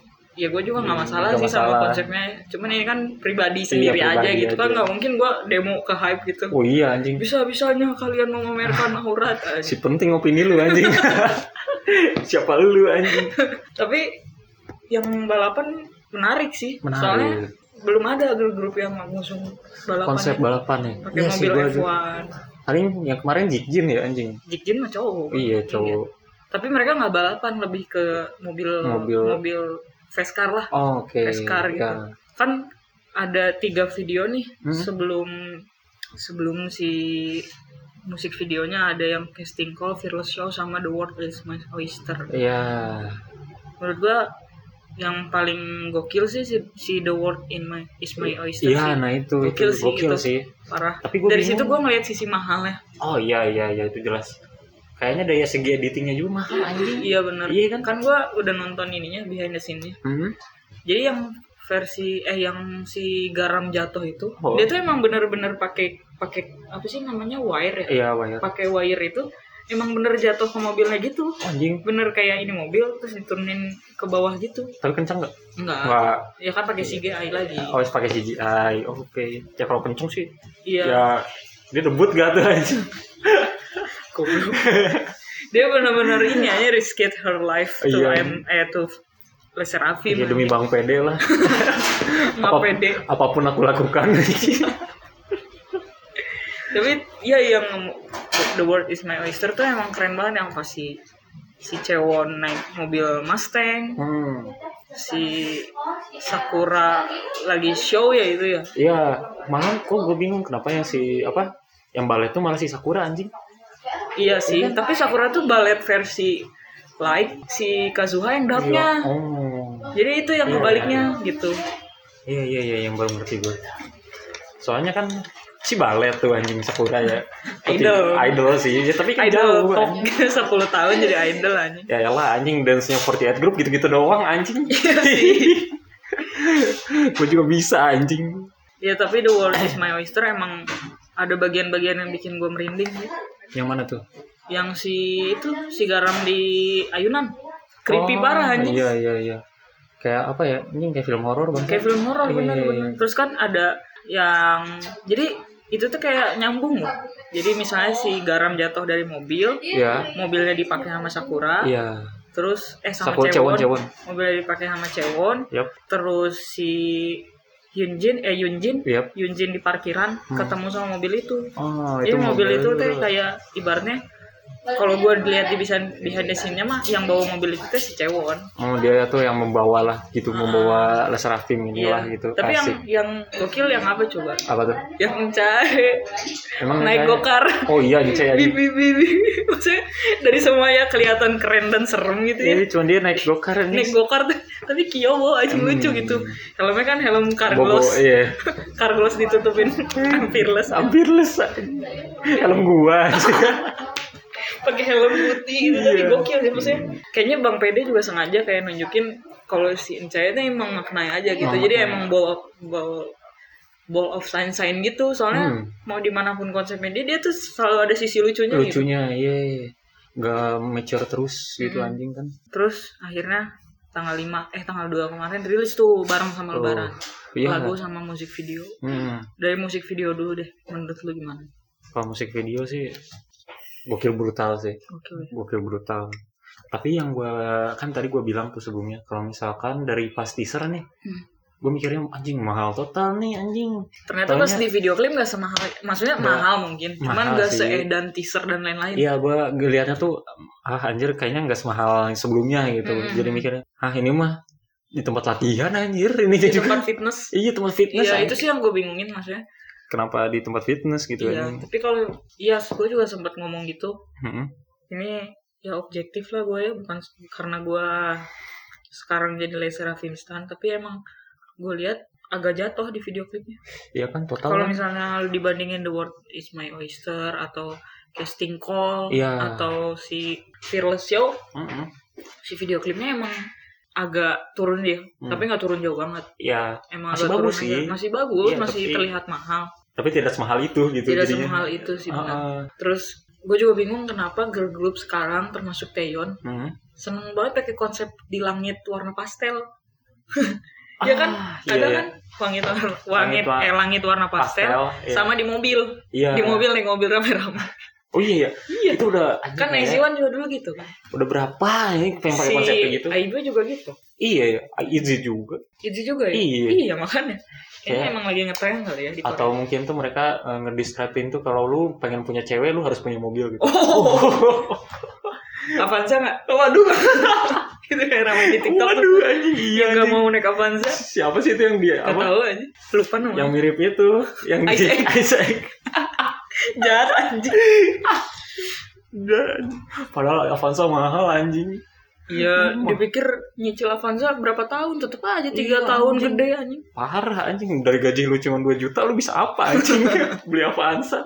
S2: ya gue juga nggak
S1: Hmm,
S2: masalah
S1: nggak
S2: sih sama
S1: masalah. Iya,
S2: konsepnya cuman ini kan pribadi sendiri aja
S1: pribadi
S2: gitu kan
S1: aja.
S2: nggak mungkin gue demo ke hype gitu
S1: oh iya anjing
S2: bisa bisanya kalian memamerkan aurat
S1: si penting opini lu anjing siapa lu anjing
S2: tapi yang balapan menarik sih
S1: Menarik.
S2: soalnya belum ada grup-grup yang ngusung balapan
S1: konsep
S2: ya.
S1: balapan nih
S2: pakai
S1: Iya sih,
S2: mobil
S1: gua
S2: F1
S1: juga. paling yang kemarin jikjin ya anjing
S2: Jikjin mah cowok
S1: iya cowok
S2: tapi mereka nggak balapan lebih ke mobil
S1: Mobil.
S2: mobil Vescar lah
S1: oh, oke
S2: Vescar gitu.
S1: Ya.
S2: kan ada tiga video nih
S1: Hmm.
S2: sebelum sebelum si musik videonya ada yang casting call Fearless Show sama The World Is My Oyster
S1: Iya.
S2: menurut gua yang paling gokil sih si, si The World in My Is My Oyster
S1: Iya,
S2: sih.
S1: nah itu
S2: Gokil
S1: itu
S2: sih,
S1: gokil
S2: itu.
S1: sih.
S2: parah
S1: Tapi gua
S2: dari
S1: bingung.
S2: situ gua ngeliat sisi mahalnya
S1: Oh iya iya iya itu jelas. Kayaknya daya segi editingnya juga mahal anjing.
S2: iya benar
S1: Iya kan?
S2: kan gua udah nonton ininya behind the scene nya
S1: Hmm.
S2: jadi yang versi eh yang si garam jatuh itu
S1: Oh.
S2: dia tuh emang bener-bener pakai pakai apa sih namanya wire ya
S1: Iya, wah.
S2: pakai wire itu emang bener jatuh ke mobilnya gitu
S1: Anjing,
S2: bener kayak ini mobil terus diturunin ke bawah gitu
S1: tapi kencang nggak?
S2: enggak
S1: Nggak.
S2: ya kan pakai CGI lagi
S1: Oh, harus pakai CGI. Oke. Ya kalau kencang sih.
S2: iya
S1: Ya dia debut gak tuh anjing.
S2: goblok. dia bener-bener ini aja risked her life to
S1: Iya.
S2: M eh to Lesser Afim
S1: Ya demi Bang Pede lah.
S2: nggak
S1: Apa-
S2: pede
S1: Apapun aku lakukan.
S2: tapi ya yang the world is my oyster tuh emang keren banget yang pas si si Cewon naik mobil Mustang
S1: hmm.
S2: si Sakura lagi show ya itu ya
S1: Iya, malah kok gue bingung kenapa yang si apa yang balet tuh malah si Sakura anjing.
S2: iya sih tapi Sakura tuh balet versi like si Kazuha yang
S1: Iya.
S2: darknya
S1: Oh.
S2: jadi itu yang
S1: Iya,
S2: ngebaliknya gitu
S1: Iya iya iya yang baru ngerti gue. Soalnya kan si balet tuh anjing Sakura ya. Tapi-
S2: Idol.
S1: Idol sih. Ya, tapi kan
S2: idol
S1: jauh,
S2: pop
S1: anjing.
S2: 10 tahun jadi idol anjing
S1: Ya lah anjing dance-nya 48 Group gitu-gitu doang anjing.
S2: Iya sih.
S1: gue juga bisa anjing.
S2: ya tapi the world is my oyster emang ada bagian-bagian yang bikin gue merinding sih
S1: Yang mana tuh?
S2: yang si itu si garam di ayunan creepy
S1: Oh,
S2: parah anjing
S1: Iya iya iya. Kayak apa ya? Ini kayak film horor banget.
S2: kayak film horor
S1: Iya,
S2: bener
S1: iya,
S2: bener
S1: iya.
S2: terus kan ada yang jadi itu tuh kayak nyambung loh jadi misalnya si garam jatuh dari mobil
S1: Iya.
S2: mobilnya dipakai sama Sakura
S1: Iya.
S2: terus eh sama
S1: Sakura,
S2: Cewon,
S1: Cewon, Cewon.
S2: mobilnya dipakai sama Cewon
S1: Yap.
S2: terus si Yunjin eh Yunjin
S1: Yap.
S2: Yunjin di parkiran
S1: Hmm.
S2: ketemu sama mobil itu
S1: Oh,
S2: Jadi mobil, itu teh kayak ibaratnya kalau gue lihat di behind, behind the scene-nya mah yang bawa mobil itu teh si Cewon.
S1: Oh, dia tuh yang membawa lah gitu, membawa Lesrafim inilah
S2: Ah. Iya.
S1: gitu.
S2: Tapi
S1: Asik.
S2: yang yang gokil yang apa coba?
S1: apa tuh?
S2: Yang mencari
S1: Emang
S2: naik
S1: kayak-
S2: gokar.
S1: Oh iya, saya
S2: Bibi bibi. Maksudnya dari semuanya kelihatan keren dan serem gitu ya.
S1: Jadi cuma dia naik gokar ini.
S2: Naik gokar tuh, tapi Kyobo aja lucu gitu. Helmnya kan
S1: Hmm.
S2: helm
S1: Bobo,
S2: Carglass.
S1: iya.
S2: Carglass ditutupin Peerless.
S1: Hampir les. Helm gua.
S2: pakai helm putih gitu tapi
S1: Iya.
S2: gokil sih maksudnya kayaknya bang pede juga sengaja kayak nunjukin kalau si Encaya itu emang maknai aja gitu
S1: Emang
S2: jadi
S1: maknai.
S2: emang ball ball ball of sign sign gitu soalnya
S1: Hmm.
S2: mau dimanapun konsepnya dia dia tuh selalu ada sisi lucunya gitu
S1: Lucunya, iya. Gak mature terus gitu
S2: Hmm.
S1: anjing kan.
S2: terus akhirnya tanggal 5 eh tanggal 2 kemarin rilis tuh bareng
S1: Oh,
S2: sama lebaran
S1: Iya.
S2: lagu sama musik video
S1: Hmm.
S2: dari musik video dulu deh menurut lu gimana
S1: Kalau musik video sih gokil brutal sih.
S2: oke
S1: Gokil brutal. Tapi yang gua kan tadi gua bilang tuh sebelumnya kalau misalkan dari pas teaser nih
S2: Hmm.
S1: Gua mikirnya anjing mahal total nih anjing
S2: ternyata
S1: Taunya-
S2: pas di video klip gak semahal maksudnya
S1: Nggak-
S2: mahal mungkin cuman
S1: mahal
S2: gak
S1: sih.
S2: seedan teaser dan lain-lain
S1: Iya, gua ngelihatnya tuh ah anjir kayaknya nggak semahal yang sebelumnya gitu.
S2: Mm-mm.
S1: Jadi mikirnya, ah ini mah di tempat latihan anjir ini
S2: di
S1: juga.
S2: tempat fitness
S1: Iya tempat fitness.
S2: Iya
S1: anjir.
S2: itu sih yang gue bingungin maksudnya.
S1: Kenapa di tempat fitness gitu?
S2: Iya.
S1: anjing. Hmm.
S2: Tapi kalau iya gue juga sempat ngomong gitu.
S1: Mm-mm.
S2: Ini ya objektif lah gue ya bukan s- karena gue sekarang jadi laser Filmstan tapi emang gue lihat agak jatuh di video klipnya.
S1: Iya kan total.
S2: Kalau
S1: kan.
S2: misalnya lu dibandingin The World Is My Oyster atau Casting Call
S1: Iya.
S2: atau si Fearless Show,
S1: Mm-mm.
S2: si video klipnya emang agak turun dia,
S1: Hmm.
S2: tapi nggak turun jauh banget.
S1: ya
S2: Emang
S1: Masih
S2: agak
S1: bagus
S2: turun
S1: sih.
S2: aja. Masih bagus,
S1: Iya,
S2: masih
S1: tapi-
S2: terlihat mahal.
S1: tapi tidak semahal itu gitu
S2: Tidak
S1: jadinya.
S2: semahal itu sih
S1: Ah,
S2: benar.
S1: ah.
S2: Terus gue juga bingung kenapa girl group sekarang termasuk Taeyeon
S1: Hmm.
S2: seneng banget pakai konsep di langit warna pastel. Iya kan?
S1: Ah, iya,
S2: Kadang
S1: iya.
S2: kan langit warna, langit,
S1: wa-
S2: eh, langit warna pastel,
S1: iya.
S2: sama di mobil,
S1: Iya.
S2: di mobil nih mobil rame-rame.
S1: oh iya, iya.
S2: Iya.
S1: itu udah anjing
S2: Kan
S1: ya.
S2: Aiziwan juga dulu gitu kan.
S1: udah berapa ini pengen pakai konsep kayak gitu
S2: Aibu juga gitu.
S1: iya iya. Izzy juga
S2: Itu juga ya.
S1: Iya.
S2: makanya. Ini
S1: Kayak-
S2: emang lagi ngetren kali ya di Korea.
S1: atau mungkin tuh mereka eh, ngedistrapin tuh kalau lu pengen punya cewek lu harus punya mobil gitu
S2: Oh, Avanza nggak? Waduh. itu kayak ramai di TikTok. tuh.
S1: Waduh anjing iya
S2: Yang nggak
S1: anjing.
S2: mau naik Avanza.
S1: Siapa sih itu yang dia?
S2: Gak
S1: Apa?
S2: tahu aja. Lupa namanya.
S1: Yang mirip itu, yang di
S2: Isaac.
S1: Isaac.
S2: jahat anjing.
S1: Dan padahal Avanza mahal anjing.
S2: Iya, dipikir nyicil Avanza berapa tahun? Tetep aja tiga
S1: Iya,
S2: tahun
S1: anjing.
S2: gede anjing.
S1: Parah anjing dari gaji lu cuma 2 juta lu bisa apa anjing? Beli Avanza.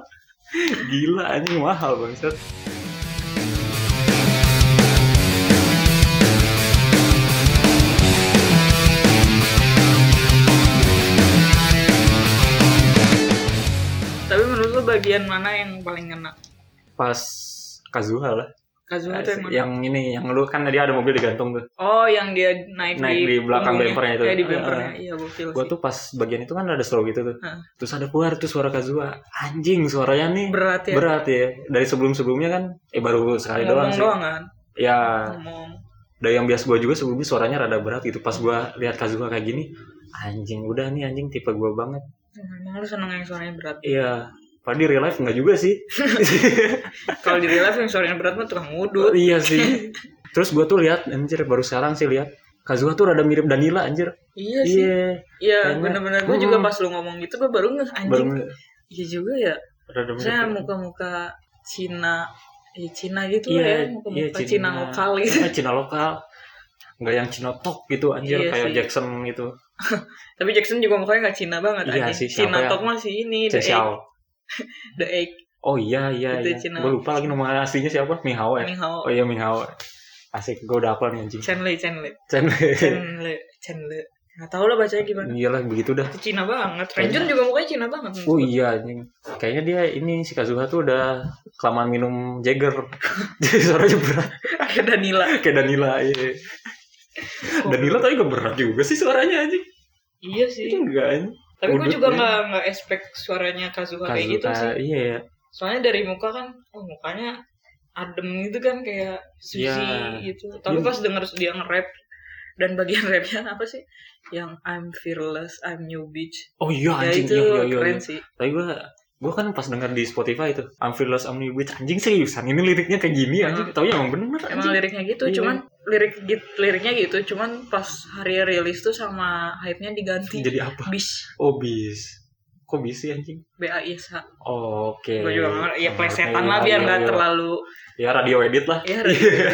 S1: Gila anjing mahal banget.
S2: Tapi menurut lu bagian mana yang paling kena?
S1: Pas Kazuha lah.
S2: Kazuha tuh yang mana?
S1: Yang ini yang lu kan tadi ada mobil digantung tuh.
S2: Oh, yang dia naik,
S1: Naik di belakang
S2: punggungnya.
S1: bempernya itu.
S2: Ya, di
S1: Ah,
S2: bempernya.
S1: ah.
S2: Iya, gokil
S1: Gua
S2: sih.
S1: tuh pas bagian itu kan ada slow gitu tuh.
S2: Heeh.
S1: Terus ada keluar tuh suara Kazuha. Anjing suaranya nih
S2: Berat ya.
S1: berat ya. Dari sebelum-sebelumnya kan eh baru sekali
S2: Ngomong
S1: doang
S2: doang,
S1: sih.
S2: kan?
S1: Ya,
S2: Ngomong.
S1: dari yang biasa gue juga sebelumnya suaranya rada berat gitu pas gue lihat Kazuha kayak gini anjing udah nih anjing tipe gue banget
S2: Eh, Emang lu seneng yang suaranya berat?
S1: iya padahal di real life nggak juga sih
S2: Kalau di real life yang suaranya berat mah tukang
S1: Oh,
S2: ngudut.
S1: iya sih terus gue tuh lihat anjir baru sekarang sih lihat Kazuha tuh rada mirip Danila anjir
S2: Iya sih.
S1: iya
S2: Iya,
S1: Kayaknya-
S2: bener-bener. Gue juga
S1: Mm.
S2: pas lu ngomong gitu, gue baru ngeh anjing.
S1: baru
S2: Iya juga ya.
S1: rada mirip
S2: Saya muka-muka Cina, ya Cina gitu
S1: Iya,
S2: ya, muka-muka Cina. lokal gitu.
S1: Iya, Cina lokal nggak yang Cina tok gitu anjir
S2: Iya
S1: kayak
S2: sih.
S1: Jackson gitu
S2: Tapi Jackson juga mukanya nggak Cina banget
S1: Iya
S2: anjing.
S1: sih, siapa
S2: Cina
S1: yang-
S2: tok masih ini,
S1: Chen
S2: the egg,
S1: Xiao
S2: the egg,
S1: oh iya iya,
S2: Itu
S1: iya.
S2: Cina.
S1: gue lupa lagi nama aslinya siapa Ming Hao ya
S2: Ming Hao,
S1: oh iya Ming Hao asik gue udah hafal nih anjing
S2: Chen Le, Chen Le,
S1: Chen
S2: Chen Le, Chen Le. Nggak tahu lah bacanya gimana.
S1: Iya lah begitu dah.
S2: Itu Cina banget. Renjun juga mukanya Cina banget.
S1: Oh iya anjing. Kayaknya dia ini si Kazuha tuh udah kelamaan minum Jagger. Jadi suaranya berat
S2: Kayak Danila.
S1: kayak Danila. Iya. Danila tapi gak berat juga sih suaranya anjing.
S2: Iya
S1: Itu
S2: sih.
S1: enggak anjing.
S2: Tapi gue
S1: Udut,
S2: juga
S1: iya.
S2: nggak nggak expect suaranya Kazuha kayak gitu
S1: Kazuha,
S2: sih.
S1: Iya ya.
S2: Soalnya dari muka kan, oh mukanya adem gitu kan kayak sushi
S1: Iya.
S2: gitu. Tapi
S1: Iya.
S2: pas denger dia nge-rap dan bagian rapnya apa sih? Yang I'm fearless, I'm new bitch.
S1: Oh iya
S2: Ya
S1: anjing.
S2: itu
S1: Iya, iya, iya,
S2: keren
S1: iya.
S2: sih.
S1: Tapi gue gue kan pas denger di Spotify itu I'm fearless I'm new bitch anjing seriusan ini liriknya kayak gini anjing
S2: Hmm.
S1: tapi emang bener
S2: Emang
S1: anjing
S2: liriknya gitu,
S1: Iya.
S2: cuman lirik git- liriknya gitu, cuman pas hari rilis tuh sama hype-nya diganti.
S1: jadi apa
S2: Bis,
S1: obis kok bis sih anjing
S2: B A I S H.
S1: oke
S2: Gue juga nggak- ya
S1: Oke,
S2: plesetan
S1: iya,
S2: lah biar
S1: iya,
S2: nggak
S1: iya.
S2: terlalu
S1: ya radio edit lah
S2: ya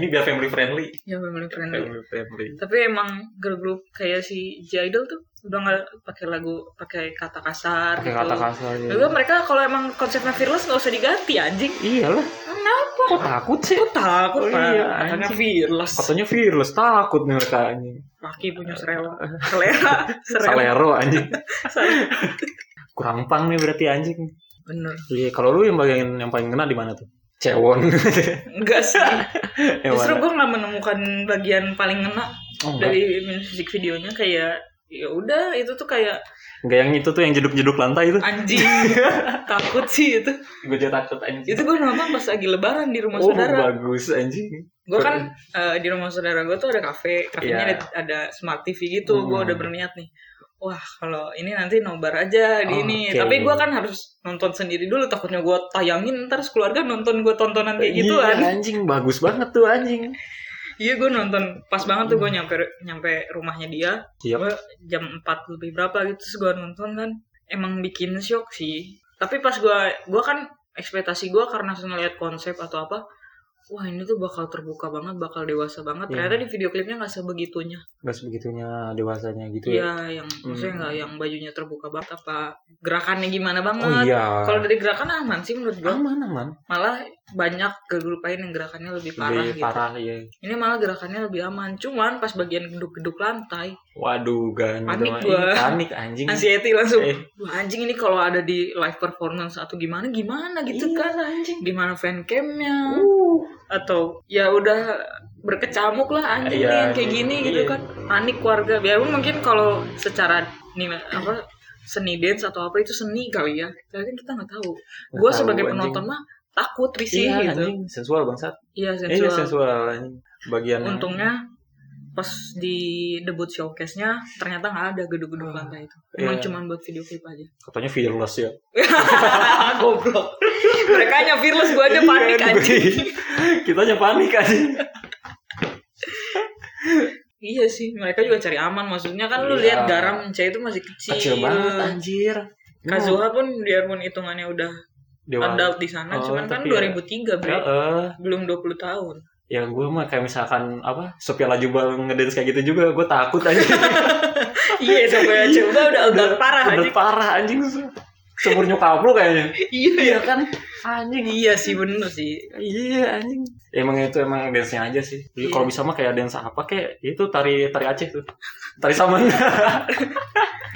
S1: ini biar family friendly
S2: ya memang friendly.
S1: family friendly
S2: tapi emang girl group kayak si G Idol tuh udah nggak pakai lagu pakai kata kasar
S1: pakai
S2: gitu.
S1: kata kasar ya.
S2: Lalu mereka kalau emang konsepnya fearless nggak usah diganti anjing.
S1: iyalah
S2: Kenapa?
S1: kok takut sih
S2: Kok takut
S1: Oh,
S2: Pak?
S1: iya,
S2: Katanya
S1: anjing.
S2: fearless.
S1: katanya fearless takut nih mereka anjing
S2: Laki punya serela. Selera. Serela.
S1: salero anjing
S2: Selera.
S1: kurang pang nih berarti anjing
S2: Bener.
S1: iya kalau lu yang bagian yang paling kena di mana tuh cewon
S2: Enggak sih.
S1: Yang mana?
S2: Justru gue nggak menemukan bagian paling ngena
S1: Oh, enggak.
S2: dari musik videonya kayak ya udah itu tuh kayak
S1: enggak yang itu tuh yang jeduk-jeduk lantai itu
S2: anjing takut sih itu
S1: gue jadi takut anjing
S2: itu gue nonton pas lagi lebaran di rumah
S1: oh
S2: saudara
S1: bagus anjing
S2: gue kan eh, di rumah saudara gue tuh ada kafe kafenya
S1: Iya.
S2: ada, ada smart TV gitu gue
S1: Hmm.
S2: udah berniat nih wah kalau ini nanti nobar aja di
S1: Oh,
S2: ini
S1: oke.
S2: tapi gue kan harus nonton sendiri dulu takutnya gue tayangin ntar sekeluarga nonton gue tontonan kayak gitu
S1: Iya,
S2: kan
S1: anjing bagus banget tuh anjing
S2: iya gue nonton pas banget tuh
S1: Hmm.
S2: gue nyampe nyampe rumahnya dia
S1: Iya.
S2: gue jam 4 lebih berapa gitu terus gue nonton kan emang bikin shock sih tapi pas gue gue kan ekspektasi gue karena ngeliat konsep atau apa wah ini tuh bakal terbuka banget bakal dewasa banget
S1: Iya.
S2: ternyata di video klipnya nggak sebegitunya
S1: nggak sebegitunya dewasanya gitu ya
S2: Iya, yang maksudnya
S1: Hmm.
S2: nggak yang bajunya terbuka banget apa gerakannya gimana banget.
S1: oh iya
S2: Kalau dari gerakan aman sih menurut gue.
S1: aman aman
S2: Malah banyak grup lain yang gerakannya lebih parah
S1: lebih
S2: gitu.
S1: parah ya
S2: Ini malah gerakannya lebih aman. Cuman pas bagian geduk-geduk lantai,
S1: waduh gan
S2: Panik
S1: Ih,
S2: gua.
S1: panik anjing
S2: anxiety langsung.
S1: eh
S2: Wah, anjing ini kalau ada di live performance atau gimana gimana gitu
S1: Iya,
S2: kan anjing. Gimana fancamnya
S1: uh
S2: atau ya udah berkecamuk lah anjing
S1: Iya,
S2: nih yang kayak gini
S1: iya.
S2: gitu kan panik warga biarpun mungkin kalau secara nilai apa seni dance atau apa itu seni kali ya tapi kan kita nggak tahu
S1: Nggak
S2: gue
S1: tahu,
S2: sebagai
S1: anjing.
S2: penonton mah takut risih
S1: iya
S2: gitu
S1: anjing sensual bangsat eh
S2: iya
S1: iya,
S2: sensual
S1: sensual anjing. bagian
S2: untungnya pas di debut showcase-nya ternyata nggak ada gedung-gedung
S1: Ah,
S2: lantai itu emang
S1: iya.
S2: cuma buat video klip aja
S1: katanya fearless ya
S2: goblok mereka hanya fearless gue aja panik
S1: Iya,
S2: aja
S1: kita aja panik anjing
S2: iya sih mereka juga cari aman maksudnya kan lu
S1: Iya.
S2: lihat garam C itu masih iya. kecil,
S1: kecil banget anjir
S2: Kazuha pun biarpun hitungannya udah
S1: Dewa-
S2: adult di sana,
S1: Oh,
S2: cuman
S1: tapi
S2: kan 2003 bre,
S1: Ya, eh,
S2: belum 20 tahun.
S1: ya gue mah kayak misalkan apa Sophia Lajuba ngedance kayak gitu juga gue takut aja
S2: Iya, sampai aja udah udah adult parah
S1: udah
S2: aja.
S1: parah anjing seumur nyokap lu kayaknya
S2: Iya kan.
S1: anjing
S2: Iya sih bener sih.
S1: iya anjing emang itu emang dance nya aja sih Jadi
S2: Iya.
S1: kalau bisa mah kayak dance apa kayak itu tari tari Aceh tuh tari saman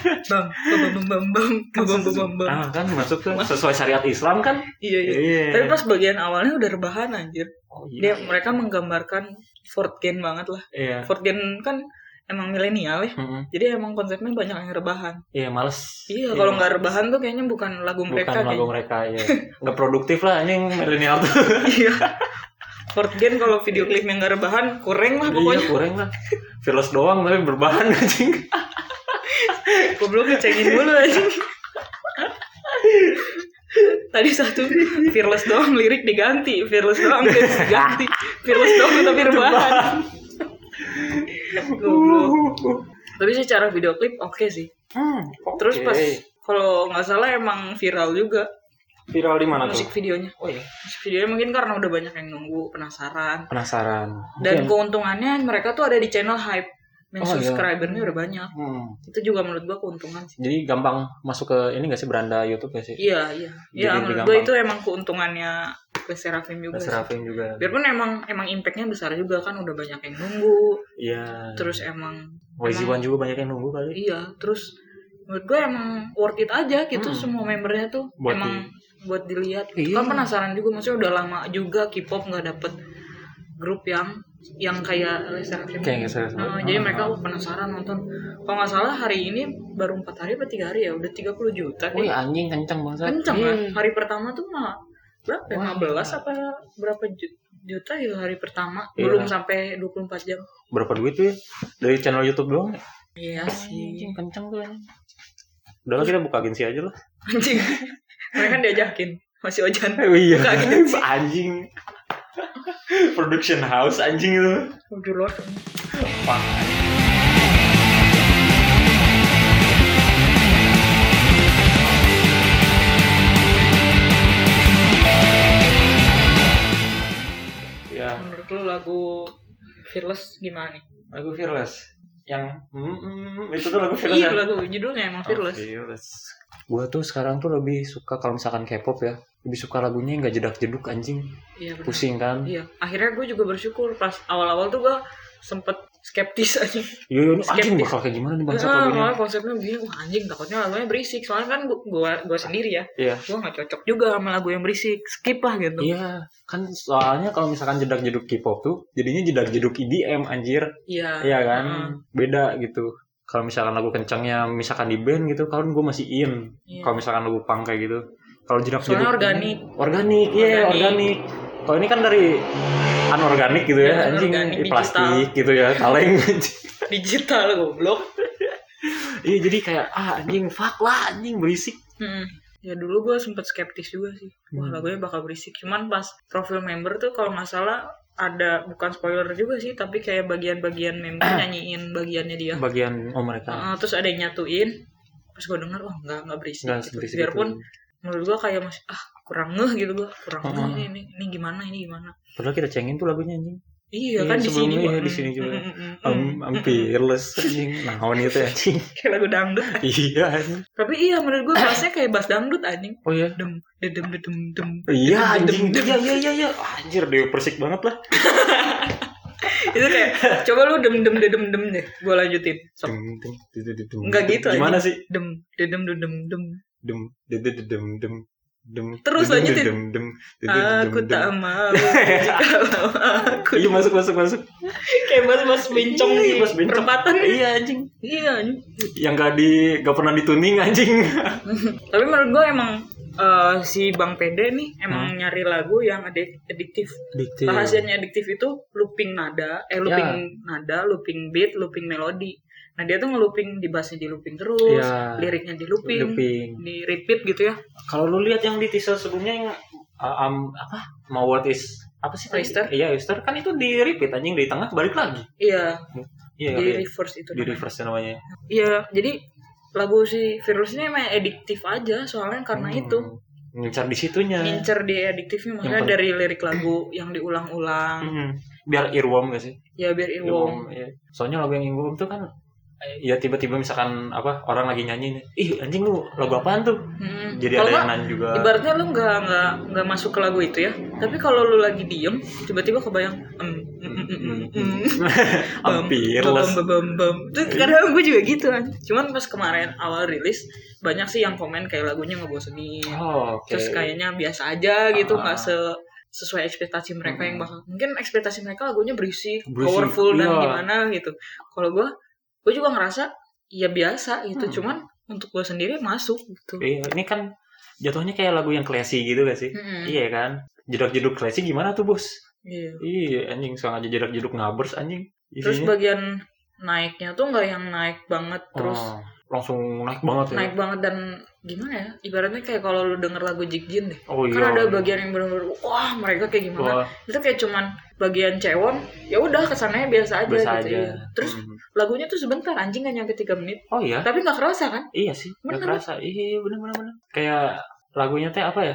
S2: Bang, bang, bang, bang, bang, bang, bang, bang, bang.
S1: ah, kan masuk tuh sesuai syariat Islam kan
S2: Iya iya.
S1: iya
S2: Tapi pas bagian awalnya udah rebahan anjir.
S1: oh, iya.
S2: Dia mereka menggambarkan Fort Gen banget lah.
S1: iya
S2: Fort Gen kan emang milenial ya.
S1: Mm-mm.
S2: Jadi emang konsepnya banyak yang rebahan.
S1: iya males
S2: Iya, kalau nggak rebahan tuh kayaknya bukan lagu mereka
S1: bukan lagu
S2: kayaknya.
S1: mereka ya nggak produktif lah anjing milenial tuh
S2: Iya. Fort Gen kalau video klipnya nggak rebahan, kurang lah pokoknya.
S1: iya kurang lah virus doang tapi berbahan anjing
S2: Gue belum ngecekin dulu anjing. Tadi satu fearless doang lirik diganti, fearless doang lirik diganti, fearless doang tapi rebahan. Goblok. tapi secara video klip oke sih.
S1: hmm,
S2: Terus
S1: oke.
S2: pas kalau nggak salah emang viral juga
S1: viral di mana tuh
S2: musik videonya.
S1: oh iya
S2: Musik videonya mungkin karena udah banyak yang nunggu, penasaran.
S1: penasaran
S2: Dan
S1: Mungkin.
S2: keuntungannya mereka tuh ada di channel hype. Dan
S1: Oh, iya.
S2: subscribernya udah banyak.
S1: Hmm.
S2: Itu juga menurut gua keuntungan sih.
S1: jadi gampang masuk ke ini gak sih beranda YouTube gak sih
S2: Iya, iya. Iya,
S1: Jadi
S2: menurut
S1: lebih
S2: gue
S1: gampang.
S2: itu emang keuntungannya ke Serafim juga
S1: Mas
S2: sih.
S1: Rafin juga
S2: Biarpun emang emang impactnya besar juga kan udah banyak yang nunggu.
S1: iya
S2: Terus emang
S1: YZ1 juga banyak yang nunggu kali
S2: iya, terus menurut gue emang worth it aja gitu
S1: Hmm.
S2: semua membernya tuh
S1: Buat
S2: emang buat dilihat.
S1: Iya.
S2: Kan penasaran juga maksudnya udah lama juga K-pop nggak dapet grup yang yang kayak Serafim.
S1: Kayak Serafim.
S2: Nah, jadi mereka penasaran nonton. Kalau nggak salah hari ini baru empat hari atau tiga hari ya udah 30 juta. deh.
S1: Wih anjing kencang bangsa
S2: kenceng kan
S1: Oh, Iya.
S2: hari pertama tuh mah berapa ya?
S1: Wah.
S2: 15 apa berapa ju- juta itu hari pertama
S1: Iya.
S2: belum sampai 24 jam
S1: berapa duit tuh ya dari channel YouTube doang ya?
S2: iya sih
S1: anjing kencang tuh anjing udah lah, kita buka agensi aja lah
S2: anjing
S1: kan
S2: mereka diajakin masih ojan
S1: Eh, iya
S2: Buka agensi.
S1: anjing production house anjing itu
S2: udah loh
S1: Ya, ya
S2: menurut lu lagu Fearless gimana nih?
S1: lagu fearless yang mm, mm, itu tuh lagu fearless
S2: Iya
S1: yang-
S2: lagu judulnya emang Fearless.
S1: Gue tuh sekarang tuh lebih suka kalau misalkan K-pop ya, lebih suka lagunya yang gak jedak-jeduk anjing,
S2: Iya benar.
S1: pusing kan.
S2: Iya. Akhirnya gue juga bersyukur pas awal-awal tuh gue sempet skeptis aja.
S1: Yo yo, ini anjing
S2: Skeptis.
S1: bakal kayak gimana nih bangsa
S2: Nah,
S1: lagunya?
S2: malah konsepnya begini, wah anjing takutnya lagunya berisik. Soalnya kan gue gue sendiri ya,
S1: Iya.
S2: gue nggak cocok juga sama lagu yang berisik. Skip lah gitu.
S1: Iya, kan soalnya kalau misalkan jedak-jeduk K-pop tuh jadinya jedak-jeduk EDM anjir.
S2: Iya.
S1: Iya kan?
S2: Heeh.
S1: Beda gitu. Kalau misalkan lagu kencangnya misalkan di band gitu, kan gue masih in.
S2: Iya.
S1: Kalau misalkan lagu punk kayak gitu. Kalau jedak-jeduk
S2: Soalnya organik.
S1: Organik, iya
S2: Organik.
S1: organik. Kalau ini kan dari anorganik gitu ya,
S2: Iya,
S1: anjing
S2: anorganik,
S1: eh, plastik gitu ya, kaleng anjing.
S2: digital goblok.
S1: Iya jadi kayak ah anjing fuck lah anjing berisik.
S2: Hmm. Ya dulu gue sempet skeptis juga sih. Wah
S1: Hmm.
S2: lagunya bakal berisik. Cuman pas profil member tuh kalau nggak salah ada bukan spoiler juga sih, tapi kayak bagian-bagian member nyanyiin bagiannya dia.
S1: Bagian oh mereka
S2: Heeh, terus ada yang nyatuin. Terus gue denger wah nggak nggak berisik.
S1: nggak
S2: gitu.
S1: berisik.
S2: Biarpun
S1: gitu.
S2: menurut gue kayak masih ah kurang ngeh gitu gua kurang
S1: Hmm.
S2: ngeh ini, ini ini gimana ini gimana
S1: padahal kita cengin tuh lagunya anjing
S2: iya
S1: Iya,
S2: kan di sini
S1: sebelumnya
S2: juga
S1: iya, di sini juga.
S2: Mm, mm, mm, mm,
S1: I'm, I'm
S2: mm, mm.
S1: fearless anjing naon itu anjing
S2: kayak lagu dangdut
S1: iya anjing
S2: tapi iya menurut gua bassnya kayak bass dangdut anjing
S1: oh iya
S2: dem dem dem dem dem
S1: iya anjing
S2: Dem, dem,
S1: iya iya iya iya anjir dia persik banget lah
S2: itu kayak coba lu dem dem dem dem deh gue lanjutin Sok.
S1: Dem, dem, dem, dem, dem, dem.
S2: Nggak gitu,
S1: gimana sih
S2: dem dem dem dem dem
S1: dem dem dem dem dem dem
S2: Terus
S1: dem,
S2: lanjutin.
S1: dem dem dem dem
S2: aku
S1: dem,
S2: tak
S1: dem.
S2: mau kalau aku
S1: iya masuk masuk masuk
S2: kayak mas mas bencong
S1: Iya,
S2: di
S1: bass bencong.
S2: perempatan
S1: iya anjing
S2: iya anjing.
S1: yang gak di gak pernah dituning anjing
S2: tapi menurut gue emang eh, si bang pede nih
S1: Hmm.
S2: emang nyari lagu yang adik adiktif
S1: Dikti.
S2: rahasianya adiktif itu looping nada
S1: Iya.
S2: eh looping nada looping beat looping melodi nah dia tuh ngelooping di bassnya di looping terus
S1: Iya.
S2: liriknya di looping,
S1: Looping.
S2: di repeat gitu ya
S1: kalau lu lihat yang di teaser sebelumnya yang uh, um, apa mau what is apa sih tadi?
S2: Oyster?
S1: iya Oyster kan itu di repeat anjing dari tengah balik lagi
S2: iya
S1: iya
S2: di
S1: kali ya?
S2: reverse itu
S1: di
S2: namanya.
S1: reverse namanya
S2: Iya, jadi lagu si virus ini emang ediktif aja soalnya karena
S1: Hmm.
S2: itu
S1: ngincar di situnya
S2: ngincer di ediktifnya
S1: Yang
S2: makanya
S1: per-
S2: dari lirik lagu yang diulang-ulang
S1: Hmm. biar earworm gak sih
S2: ya biar earworm.
S1: iya. soalnya lagu yang earworm tuh kan eh, ya tiba-tiba misalkan apa orang lagi nyanyi nih ih anjing lu lagu apaan tuh
S2: Hmm.
S1: jadi
S2: Kalau
S1: ada yang
S2: nggak,
S1: nan juga
S2: ibaratnya lu nggak nggak nggak masuk ke lagu itu ya tapi kalau lu lagi diem tiba-tiba kebayang em em em em, em, em, bam,
S1: hampir
S2: bam, bam, bam, bam. Itu kadang gue juga gitu kan cuman pas kemarin awal rilis banyak sih yang komen kayak lagunya ngebosenin
S1: oh, oke
S2: terus kayaknya biasa aja gitu
S1: Ah.
S2: nggak se sesuai ekspektasi mereka yang
S1: Mm.
S2: bakal mungkin ekspektasi mereka lagunya berisik,
S1: Berisik,
S2: powerful dan
S1: iya.
S2: gimana gitu kalau gue gue juga ngerasa ya biasa gitu
S1: Hmm.
S2: cuman untuk gue sendiri masuk gitu
S1: Iya, ini kan jatuhnya kayak lagu yang classy gitu gak sih?
S2: Mm-mm.
S1: Iya kan? Jedak-jeduk classy gimana tuh bos?
S2: Iya.
S1: Iya anjing, sengaja jedak-jeduk ngabers anjing.
S2: terus
S1: Isinya.
S2: bagian naiknya tuh nggak yang naik banget terus
S1: Oh, langsung naik banget ya?
S2: naik banget dan gimana ya ibaratnya kayak kalau lu denger lagu Jigjin deh
S1: Oh iya.
S2: kan ada bagian yang bener-bener wah mereka kayak gimana
S1: Wah,
S2: itu kayak cuman bagian cewon ya udah kesannya biasa aja
S1: biasa
S2: gitu
S1: aja.
S2: iya. terus
S1: Hmm.
S2: lagunya tuh sebentar anjing gak nyampe 3 menit
S1: Oh iya,
S2: tapi nggak kerasa kan
S1: iya sih.
S2: Bener.
S1: Gak kerasa. Iya, bener bener bener. Kayak lagunya teh apa ya?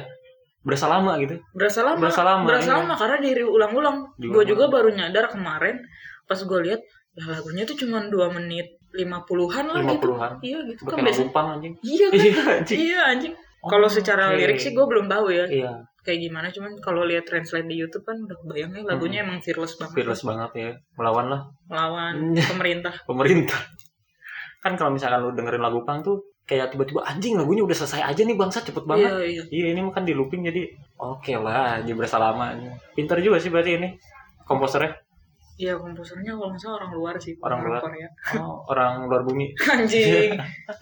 S1: Berasa lama gitu.
S2: berasa lama
S1: Berasa lama,
S2: berasa
S1: iya.
S2: lama karena diri ulang-ulang
S1: Diulang-ulang.
S2: gue juga baru nyadar kemarin pas gue lihat lah lagunya tuh cuman 2 menit 50-an lah
S1: Lima
S2: gitu
S1: puluhan.
S2: iya gitu kan
S1: Pakai
S2: biasa
S1: lagu punk anjing.
S2: iya kan
S1: Iya anjing. Oh,
S2: iya anjing kalau secara
S1: Oke.
S2: lirik sih gue belum tahu ya
S1: Iya,
S2: kayak gimana cuman kalau lihat translate di YouTube kan udah kebayangnya lagunya
S1: Hmm.
S2: emang fearless banget
S1: fearless banget ya. Melawanlah
S2: lawan
S1: Hmm.
S2: pemerintah
S1: pemerintah. Kan kalau misalkan lu dengerin lagu punk tuh kayak tiba-tiba anjing lagunya udah selesai aja nih bangsa cepet banget.
S2: iya iya
S1: Iya ini kan di looping jadi oke lah dia berasa lama. Pinter juga sih berarti ini komposernya
S2: iya komposernya kalau nggak salah orang luar sih
S1: Orang luar.
S2: Korea
S1: oh, orang luar bumi.
S2: anjing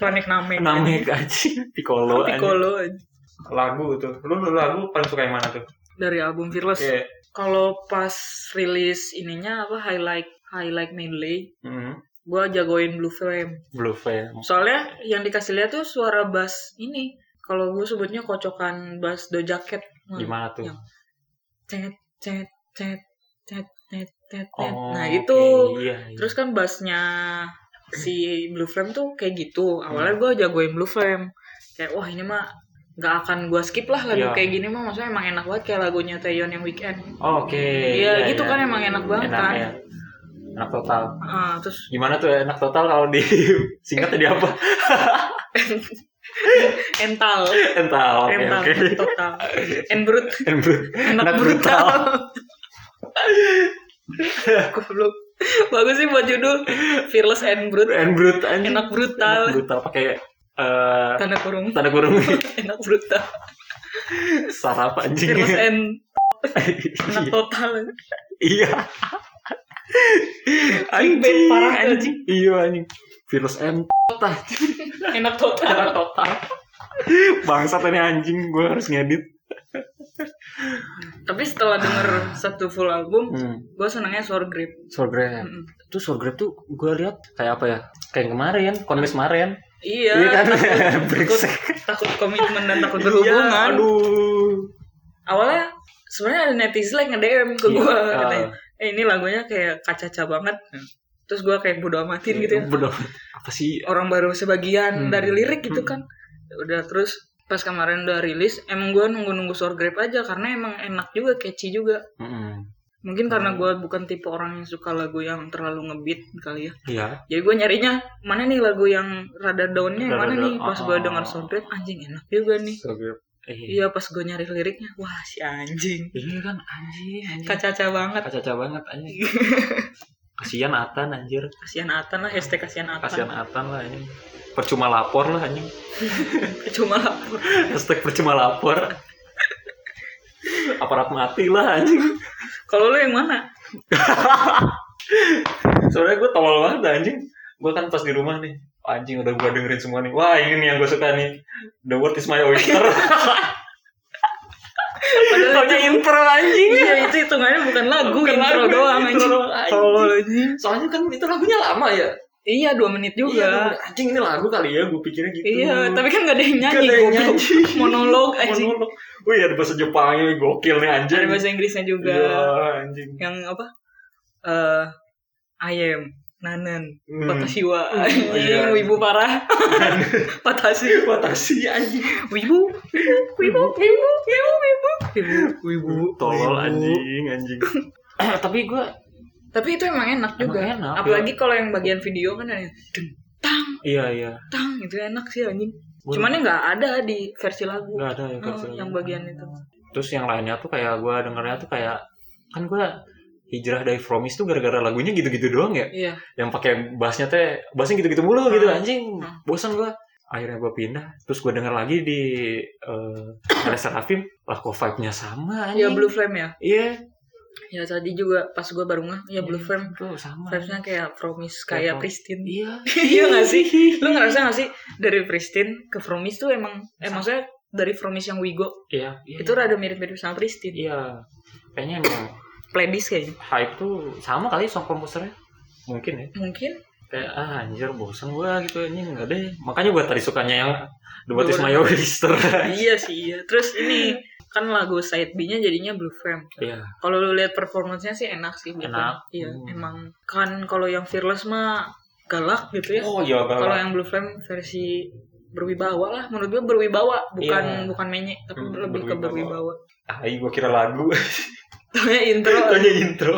S2: planet namek
S1: Namanya aja Oh, Piccolo. anjing.
S2: Piccolo anjing.
S1: Lagu tuh. Lu, lu lagu paling suka yang mana tuh?
S2: dari album Fearless
S1: Iya.
S2: kalau pas rilis ininya apa highlight highlight medley
S1: Mhm.
S2: gue jagoin Blue Flame
S1: Blue Veil.
S2: soalnya yang dikasih lihat tuh suara bass ini kalau gue sebutnya kocokan bass do jacket
S1: Gimana tuh?
S2: Yang cet cet cet cet cet cet cet.
S1: Oh,
S2: nah
S1: oke.
S2: itu
S1: Iya, iya.
S2: terus kan bassnya si Blue Flame tuh kayak gitu awalnya
S1: Hmm.
S2: gue jagoin Blue Flame kayak wah ini mah nggak akan gue skip lah lagu
S1: Iya.
S2: kayak gini mah maksudnya emang enak banget kayak lagunya Taeyeon yang Weekend
S1: Oh, oke.
S2: Iya gitu kan emang enak banget
S1: Enak
S2: kan.
S1: ya. Enak total.
S2: Ah, terus
S1: Gimana tuh enak total kalau di singkat tadi apa?
S2: ental,
S1: Ental. Oke,
S2: ental
S1: oke.
S2: total, enbrut,
S1: Embut.
S2: enak,
S1: Enak
S2: brutal. Goblok. Bagus sih buat judul Fearless and Brut.
S1: Embut anjing. Enak
S2: Enak brutal.
S1: brutal pakai eh,
S2: Tanda kurung.
S1: tanda kurung.
S2: Enak brutal.
S1: sarap anjing
S2: Fearless and enak total.
S1: iya
S2: Clickbait parah tuh, anjing.
S1: iya anjing virus M
S2: Enak total.
S1: Enak total bangsat ini anjing gue harus ngedit
S2: Tapi setelah denger satu full album,
S1: hmm.
S2: gue senangnya Sour Grip.
S1: Sorgrab
S2: Mm-mm.
S1: tuh Sorgrab tuh gue lihat kayak apa ya kayak yang kemarin konmes kemarin
S2: Iya,
S1: Iya kan?
S2: takut, takut,
S1: Brengsek.
S2: takut komitmen dan takut berhubungan.
S1: Iya, aduh
S2: awalnya sebenarnya ada netizen yang nge-DM ke
S1: Iya,
S2: gue
S1: ah.
S2: katanya, eh ini lagunya kayak kacaca banget terus gue kayak bodo amatin gitu ya
S1: Bodoh. apa sih
S2: orang baru sebagian
S1: Hmm.
S2: dari lirik gitu
S1: Hmm.
S2: kan udah terus pas kemarin udah rilis emang gue nunggu-nunggu sour grape aja karena emang enak juga catchy juga
S1: Mm-mm.
S2: mungkin
S1: Hmm.
S2: karena gue bukan tipe orang yang suka lagu yang terlalu ngebeat kali ya
S1: Iya.
S2: jadi gue nyarinya mana nih lagu yang rada downnya yang
S1: Rada
S2: mana nih
S1: down,
S2: pas
S1: ah.
S2: gue denger sour grape anjing enak juga nih
S1: Iya.
S2: iya pas gue nyari liriknya wah si anjing
S1: Iya kan anjing. anjing.
S2: kaca-kaca banget
S1: Kaca-kaca banget anjing. Kasihan Atan anjir.
S2: kasihan Atan lah hashtag kasihan
S1: Kasihan
S2: Atan
S1: Atan lah anjing. Percuma lapor lah anjing.
S2: cuma lapor
S1: Hashtag percuma lapor. Aparat mati lah anjing.
S2: kalau lu yang mana
S1: Soalnya gue tolol banget anjing. Gue kan pas di rumah nih. Anjing udah gue dengerin semua nih. Wah ini nih yang gue suka nih. The world is my oyster.
S2: Padahal
S1: Pakai intro anjing.
S2: iya itu hitungannya bukan lagu
S1: Bukan
S2: intro
S1: lagu, intro
S2: doang anjing
S1: doang, anjing.
S2: Tolol, anjing.
S1: Soalnya kan itu lagunya lama ya.
S2: iya dua menit
S1: Iya, gue
S2: juga
S1: bilang, anjing ini lagu kali ya, gue pikirnya gitu.
S2: iya tapi kan gak ada yang
S1: Gak
S2: nyanyi
S1: ada yang
S2: goblok.
S1: nyanyi.
S2: monolog anjing
S1: Monolog. Wih, ada bahasa Jepangnya, gokil nih anjing.
S2: ada bahasa Inggrisnya juga
S1: Iya, anjing.
S2: yang apa eh I am nanan
S1: Hmm.
S2: patashiwa
S1: Hmm.
S2: anjing
S1: Iya.
S2: wibu parah patasi
S1: Batasi anjing.
S2: wibu wibu wibu wibu wibu wibu
S1: Wibu, tolol anjing, anjing. tapi gue
S2: tapi itu emang enak
S1: Emang
S2: juga
S1: enak, ya.
S2: apalagi kalau yang bagian video kan ada yang dentang
S1: iya iya.
S2: tang itu enak sih anjing
S1: Gua-
S2: cuman nggak ada di versi lagu
S1: Gak ada ya
S2: Oh,
S1: versi
S2: yang
S1: lagu.
S2: bagian itu
S1: Terus yang lainnya tuh kayak gue dengernya tuh kayak kan gue hijrah dari Fromis tuh gara-gara lagunya gitu-gitu doang ya.
S2: iya
S1: yang pakai bassnya teh bassnya gitu-gitu mulu gitu
S2: Hmm.
S1: anjing
S2: Hmm.
S1: bosan gua akhirnya gua pindah terus gua denger lagi di eh ada Serafim lah kok vibe-nya sama anjing
S2: ya blue flame ya
S1: iya
S2: ya tadi juga pas gue baru ngeh ya blue flame
S1: tuh sama
S2: vibesnya kayak promise kayak
S1: Iya. Kayak-
S2: pristine
S1: iya
S2: iya gak sih lu ngerasa gak sih dari pristine ke promise tuh emang eh maksudnya dari promise yang wigo
S1: iya iya
S2: itu rada mirip-mirip sama pristine
S1: iya kayaknya emang
S2: playlist kayaknya
S1: hype tuh sama kali song komposernya mungkin ya
S2: mungkin
S1: kayak ah anjir bosan gua gitu anjing enggak deh makanya gua tadi sukanya yang The Batis
S2: Boleh.
S1: Mayo Register
S2: iya sih iya terus ini kan lagu side B-nya jadinya blue flame
S1: iya
S2: Kalau lu lihat performance-nya sih enak sih Blue
S1: Enak.
S2: Flame. Iya,
S1: Hmm.
S2: emang kan kalau yang Fearless mah galak gitu ya.
S1: oh iya
S2: kalau
S1: banget
S2: yang Blue Flame versi berwibawa lah menurut gue berwibawa bukan
S1: Iya.
S2: bukan menye tapi
S1: Hmm,
S2: lebih ke berwibawa.
S1: berwibawa. ah iya, gua kira lagu
S2: Taunya Iya, intro.
S1: tanya intro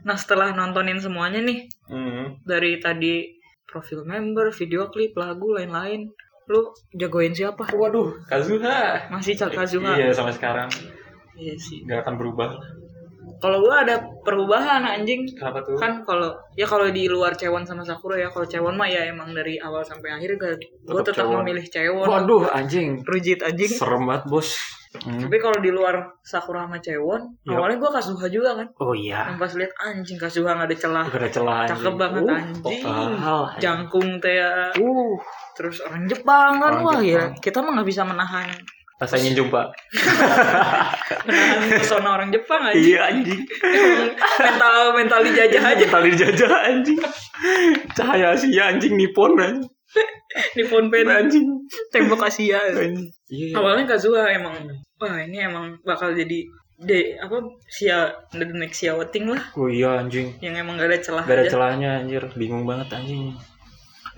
S2: Nah, setelah nontonin semuanya nih
S1: Hmm.
S2: dari tadi profil member, video klip, lagu lain-lain, lu jagoin siapa?
S1: Waduh, Kazuha.
S2: Masih Cak Kazuha.
S1: Iya, sampai sekarang
S2: Iya sih.
S1: nggak akan berubah.
S2: Kalau gue ada perubahan anjing.
S1: Kenapa tuh?
S2: kan kalau ya kalau di luar Cewon sama Sakura ya kalau Cewon mah ya emang dari awal sampai akhir gue gue tetap
S1: Cewon.
S2: memilih Cewon
S1: Waduh, anjing.
S2: rujit anjing
S1: Serem banget, Bos. Hmm.
S2: tapi kalau di luar Sakura sama Cewon
S1: Yup.
S2: awalnya gue Kazuha juga kan
S1: Oh iya.
S2: yang pas lihat anjing Kazuha nggak ada celah
S1: Gak ada celah anjing.
S2: cakep banget
S1: Uh,
S2: anjing
S1: total, anjing.
S2: jangkung teh ya.
S1: Uh,
S2: terus orang Jepang kan
S1: Orang
S2: wah ya
S1: Jepang.
S2: kita mah nggak bisa menahan
S1: rasa ingin jumpa.
S2: menahan pesona orang Jepang aja
S1: iya, anjing.
S2: mental mental dijajah aja
S1: Tali dijajah anjing. Cahaya Asia
S2: ya,
S1: anjing Nippon anjing.
S2: di Phonepay
S1: Anjing.
S2: tembok Asia
S1: Anjing. Iya.
S2: awalnya Kazuha emang wah ini emang bakal jadi de apa sia the next siaweting lah
S1: Oh iya anjing.
S2: yang emang gak ada celah
S1: Gak ada
S2: aja.
S1: celahnya anjir, bingung banget anjing.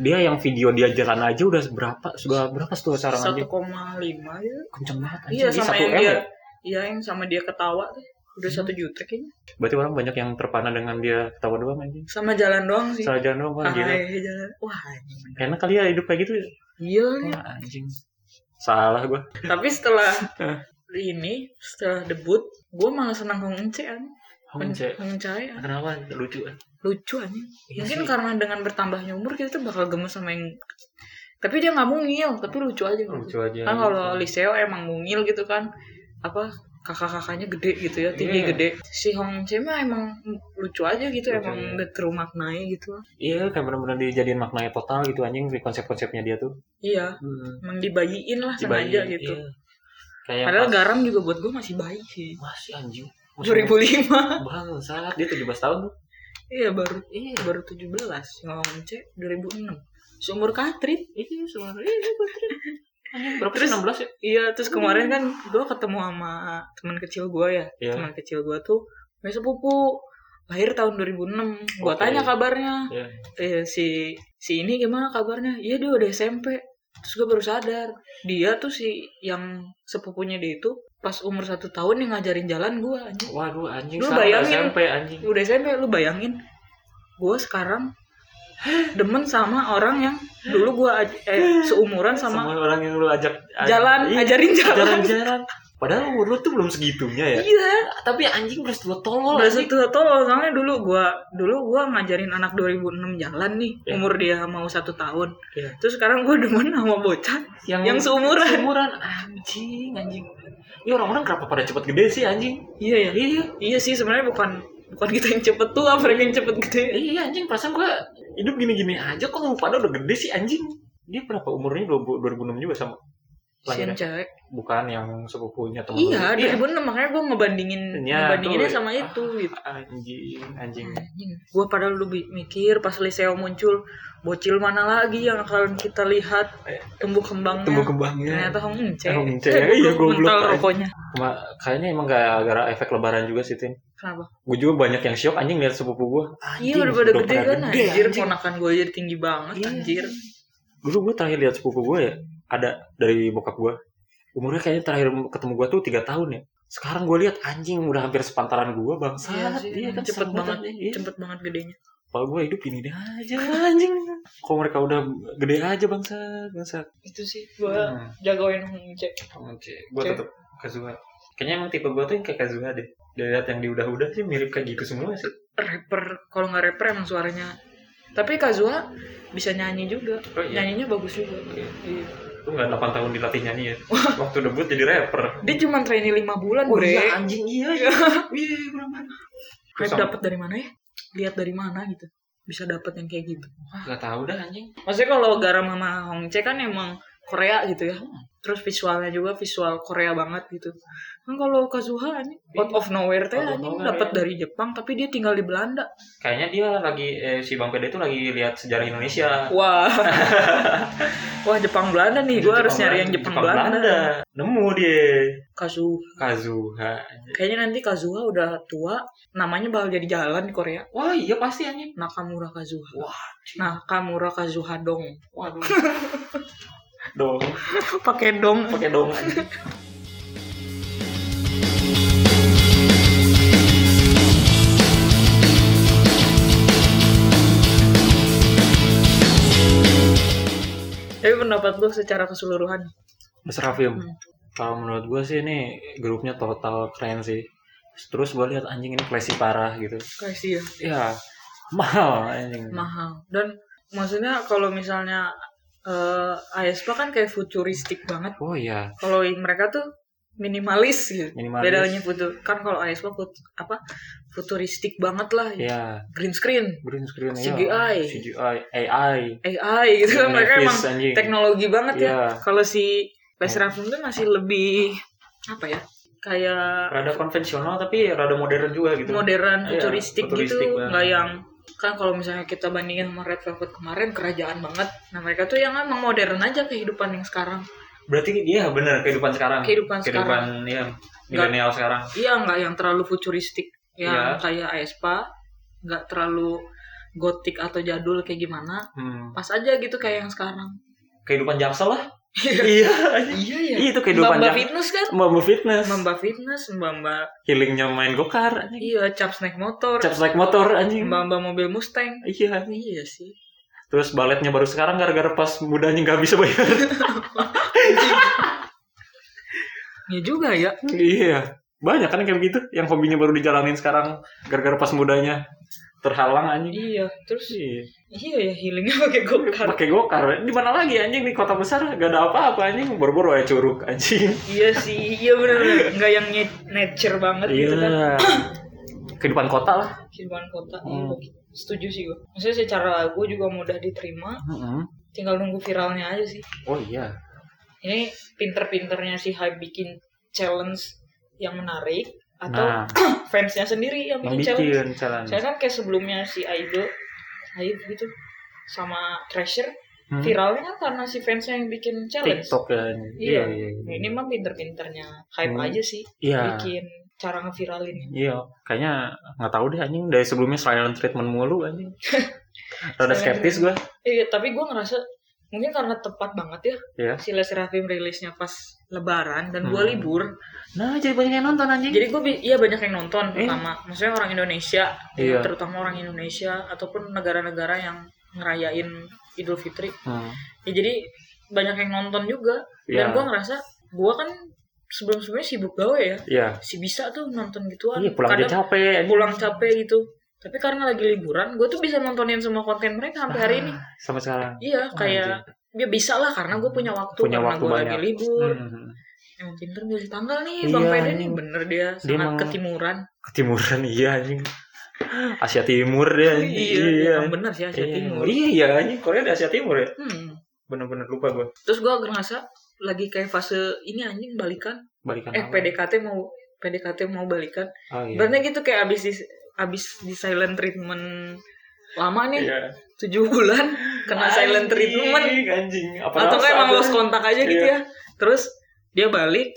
S1: Dia yang video dia jalan aja udah berapa? Sudah berapa tuh sekarang
S2: satu
S1: anjing?
S2: koma lima ya
S1: Kenceng banget anjing.
S2: iya
S1: Dia
S2: sama
S1: 1M
S2: yang
S1: ya? Hmm.
S2: dia iya yang sama dia ketawa tuh udah satu juta kayaknya
S1: Berarti orang banyak yang terpana dengan dia ketawa doang anjing.
S2: sama jalan doang sih
S1: Salah jalan doang, wah gila.
S2: Hai, jalan. wah anjing.
S1: Enak kali ya hidup kayak gitu. ya?
S2: iya nih.
S1: Wah, anjing. Salah gua.
S2: tapi setelah ini setelah debut gue malah senang Hong Eunce anjing.
S1: Hong Eunce.
S2: Hong iya. Eunce anjing.
S1: Kenapa lucu? ah.
S2: lucu anjing
S1: Iya
S2: mungkin
S1: sih.
S2: karena dengan bertambahnya umur kita tuh bakal gemes sama yang tapi dia nggak mungil tapi lucu aja gitu.
S1: Lucu aja.
S2: kan kalau Liseo emang mungil gitu kan apa kakak-kakaknya gede gitu ya tinggi
S1: Iya.
S2: gede si Hong Che mah emang lucu aja gitu
S1: Lucu
S2: emang
S1: aja.
S2: udah terumaknai gitu
S1: Iya, kayak benar-benar dijadiin maknanya total gitu anjing di konsep-konsepnya dia tuh.
S2: iya
S1: Hmm.
S2: emang dibayiin lah
S1: Dibayi,
S2: sengaja gitu
S1: iya. Kayak
S2: padahal
S1: pas-
S2: garam juga buat gue masih bayi sih
S1: masih anjing.
S2: 2005
S1: Bangsat, dia 17 tahun tuh.
S2: iya baru
S1: Iya.
S2: baru 17 Hong Che 2006 seumur Katrin
S1: Iya, suara iya, gua terima. Anjing, berapa
S2: Terus-
S1: sih 16 ya?
S2: Iya, terus kemarin kan gue ketemu sama teman kecil gue ya.
S1: Iya.
S2: Teman kecil gue tuh punya sepupu lahir tahun 2006. Gue
S1: Oke.
S2: tanya kabarnya.
S1: Iya.
S2: Eh, si si ini gimana kabarnya? Iya dia udah SMP. terus gue baru sadar dia tuh si yang sepupunya dia itu pas umur satu tahun yang ngajarin jalan gue anjing
S4: Waduh anjing
S2: Lu
S4: sama
S2: bayangin.
S4: SMP anjing.
S2: udah SMP lu bayangin gue sekarang demen sama orang yang dulu gue eh, seumuran
S4: Sama,
S2: sama
S4: orang yang lu ajak aj-
S2: jalan
S4: Iya,
S2: ajarin jalan
S4: jalan-jalan. Padahal umur lu tuh belum segitunya ya.
S2: iya
S4: Tapi anjing beres dua tolol
S2: Berasa
S4: anjing.
S2: tuh tolol soalnya dulu gua dulu gua ngajarin anak 2006 jalan nih
S4: Iya.
S2: umur dia mau satu tahun
S4: Iya. Hmm.
S2: terus sekarang gua demen sama bocah yang seumuran
S4: seumuran anjing anjing. Ini orang-orang kenapa pada cepet gede sih anjing?
S2: iya ya
S4: Iya iya.
S2: iya sih sebenarnya bukan bukan kita yang cepet tua mereka yang cepet gede
S4: Eh, Iya anjing perasaan gue hidup gini-gini aja kok lu pada udah gede sih anjing. Dia berapa umurnya 2000 2006 juga sama lahirnya.
S2: Sian cewek
S1: bukan yang sepupunya teman lu.
S2: iya 2006 makanya gua ngebandingin
S4: Iya,
S2: ngebandinginnya
S4: tuh.
S2: sama itu
S1: Ah,
S2: gitu
S4: Anjing anjing.
S2: Anjing. Gua padahal lu bi- mikir pas Liseo muncul bocil mana lagi yang akan kita lihat tumbuh kembangnya
S4: Iya. Tumbuh kembangnya.
S2: ternyata Hong Ence
S4: Hong Ence, iya, goblok.
S2: mental rokoknya
S1: Ma- kayaknya emang gak gara efek lebaran juga sih Tin
S2: kenapa
S1: gue juga banyak yang syok anjing lihat sepupu gue
S2: Iya udah pada gede kan
S4: gede,
S2: anjir
S4: anjing.
S2: ponakan gue jadi tinggi banget
S4: Iya.
S2: anjir
S1: dulu gue terakhir lihat sepupu gue ya ada dari bokap gue umurnya kayaknya terakhir ketemu gue tuh tiga tahun ya sekarang gue lihat anjing udah hampir sepantaran gue bangsa
S2: Iya sih, emang cepet banget.
S1: iya.
S2: cepet banget gedenya
S1: Kalau gue hidup ini deh aja anjing. Kok mereka udah gede aja bangsa bangsa.
S2: itu sih gue jagoin Hong Ece
S1: Hmm, Oke, gue
S2: Oke.
S1: tetap Kazuha. Kayaknya emang tipe gue tuh yang kayak Kazuha deh. Dari lihat yang diudah-udah sih mirip kayak gitu semua sih.
S2: rapper kalau nggak rapper emang suaranya tapi Kazua bisa nyanyi juga
S1: Oh iya,
S2: nyanyinya bagus juga
S1: Iya.
S2: Iya.
S1: lu nggak 8 tahun dilatih nyanyi ya? Waktu debut jadi rapper.
S2: dia cuma trainee lima bulan
S4: Oh
S2: bre
S4: iya anjing iya iya. Iya benar-benar.
S2: hype
S1: Susah.
S2: dapat dari mana ya lihat dari mana gitu bisa dapat yang kayak gitu
S4: Gak tau dah anjing.
S2: maksudnya kalau garam sama Hong Che kan emang Korea gitu ya terus visualnya juga visual Korea banget gitu kan kalau Kazuha ini out of nowhere teh
S4: Out of
S2: anjing
S4: nowhere,
S2: dapat
S4: iya.
S2: dari Jepang tapi dia tinggal di Belanda
S1: Kayaknya dia lagi eh, si Bang Pede itu lagi lihat sejarah Indonesia.
S2: wah wah Jepang Belanda nih
S1: Iya,
S2: gue harus nyari yang Jepang, Belanda,
S1: Nemu dia
S2: Kazu
S1: Kazuha.
S2: kayaknya nanti Kazuha udah tua namanya bakal jadi jalan di Korea
S4: Wah iya pasti anjing.
S2: Nakamura Kazuha Nah,
S4: Wah.
S2: Nakamura Kazuha dong
S4: Waduh.
S1: Dong,
S2: pakai dong
S1: pakai dong anjing.
S2: tapi pendapat lu secara keseluruhan
S1: Mas Rafim,
S2: Hmm.
S1: kalau menurut gue sih ini grupnya total keren sih. Terus gue lihat anjing ini klesi parah gitu.
S2: kasih ya
S1: Ya, mahal anjing.
S2: mahal dan maksudnya kalau misalnya eh aespa kan kayak futuristik banget
S1: Oh iya,
S2: kalau mereka tuh minimalis gitu
S1: minimalis.
S2: bedanya futu kan kalau aespa fut apa futuristik banget lah
S1: Iya,
S2: green screen
S1: green screen iya.
S2: CGI.
S1: CGI, AI.
S2: AI gitu kan mereka
S1: Nevis,
S2: emang
S1: Iya, anjing.
S2: teknologi banget ya
S1: Iya.
S2: kalau si Les Raffin tuh masih lebih apa ya kayak
S1: Rada konvensional tapi rada modern juga gitu.
S2: modern
S1: Iya,
S2: futuristik,
S1: futuristik
S2: gitu
S1: banget.
S2: nggak yang kan kalau misalnya kita bandingin sama Red Velvet kemarin kerajaan banget nah mereka tuh yang emang modern aja kehidupan yang sekarang
S1: Berarti iya bener kehidupan sekarang.
S2: kehidupan, sekarang
S1: Kehidupan ya milenial sekarang.
S2: iya nggak yang terlalu futuristik yang
S1: Iya.
S2: kayak aespa nggak terlalu gotik atau jadul kayak gimana
S1: Hmm.
S2: pas aja gitu kayak yang sekarang
S1: Kehidupan jaksel lah. iya. anjing.
S2: iya ya
S1: Iya itu
S2: mbak
S1: kehidupan
S2: mbak
S1: jaksel.
S2: fitness kan
S1: Mbak Mbak fitness.
S2: mbak mbak fitness mbak mbak
S1: Healingnya main gokar. anjing.
S2: iya cap snack motor
S1: Caps like motor anjing.
S2: mbak mbak mobil mustang
S1: Iya.
S2: iya sih
S1: Terus baletnya baru sekarang gara-gara pas mudanya nggak bisa bayar.
S2: iya juga ya
S1: iya. Banyak kan yang kayak begitu yang hobinya baru dijalanin sekarang gara-gara pas mudanya terhalang anjing.
S2: iya terus
S1: Iya.
S2: iya ya healingnya pakai gokar
S1: Pakai gokar. Di mana lagi anjing di kota besar gak ada apa-apa anjing. Boro-boro aja curug anjing.
S2: Iya sih, iya bener bener nggak yang nge- nature banget gitu kan
S1: Iya. Kehidupan kota lah.
S2: kehidupan kota.
S1: Hmm.
S2: Iya, setuju sih gue. Maksudnya secara lagu juga mudah diterima, tinggal nunggu viralnya aja sih.
S1: Oh iya.
S2: Ini pinter-pinternya si Hype bikin challenge yang menarik atau
S1: nah,
S2: fansnya sendiri yang
S1: yang
S2: bikin challenge.
S1: bikin challenge.
S2: Saya kan kayak sebelumnya si Aido, Aib gitu sama Treasure
S1: Hmm.
S2: viralnya kan karena si fansnya yang bikin challenge.
S1: TikTok kan. Iya,
S2: Iya. Nah,
S1: iya.
S2: ini mah pinter-pinternya Hype
S1: Hmm.
S2: aja sih
S1: Iya.
S2: bikin cara ngeviralinnya.
S1: Iya, kayaknya nggak tahu deh anjing dari sebelumnya silent treatment mulu anjing. Rada
S2: Silent
S1: skeptis gue.
S2: Iya, tapi gue ngerasa mungkin karena tepat banget ya
S1: Iya.
S2: si Les Serafim rilisnya pas Lebaran dan gua
S1: Hmm.
S2: libur
S1: Nah, jadi banyak yang nonton anjing.
S2: jadi gue iya banyak yang nonton
S1: Eh.
S2: pertama maksudnya orang Indonesia
S1: Iya.
S2: terutama orang Indonesia ataupun negara-negara yang ngerayain Idul Fitri
S1: Hmm.
S2: ya jadi banyak yang nonton juga
S1: Iya.
S2: dan gue ngerasa gue kan sebelum sebelumnya sibuk gawe ya
S1: Iya.
S2: si bisa tuh nonton gituan
S1: Iya, pulang aja
S2: kadang
S1: capek. anjing.
S2: pulang capek gitu tapi karena lagi liburan gue tuh bisa nontonin semua konten mereka sampai hari ini
S1: Ah, Sampai sekarang.
S2: iya kayak ya bisa lah karena gue punya waktu
S1: Punya
S2: karena
S1: waktu
S2: gue
S1: banyak.
S2: lagi libur Ya,
S1: Hmm.
S2: emang pinter ngasih tanggal nih
S1: Iya,
S2: bang Pede nih
S1: anjing.
S2: bener dia
S1: Dia
S2: sangat
S1: emang-
S2: ketimuran
S1: Ketimuran iya anjing. Asia Timur dia. anjing.
S2: Iya, emang bener sih Asia
S1: Iya.
S2: Timur
S1: Iya, iya anjing. Korea di Asia Timur ya.
S2: Hmm.
S1: Bener-bener lupa gue.
S2: terus gue ngerasa lagi kayak fase ini anjing balikan
S1: Balikan.
S2: eh
S1: apa?
S2: PDKT mau PDKT mau balikan
S1: Oh, iya.
S2: Berarti gitu kayak abis di abis di silent treatment lama nih
S1: Iya.
S2: tujuh bulan kena silent treatment
S1: Anjing, anjing. Apa
S2: atau
S1: rasa
S2: kayak emang
S1: tuh?
S2: lost kontak aja gitu
S1: Iya.
S2: ya terus dia balik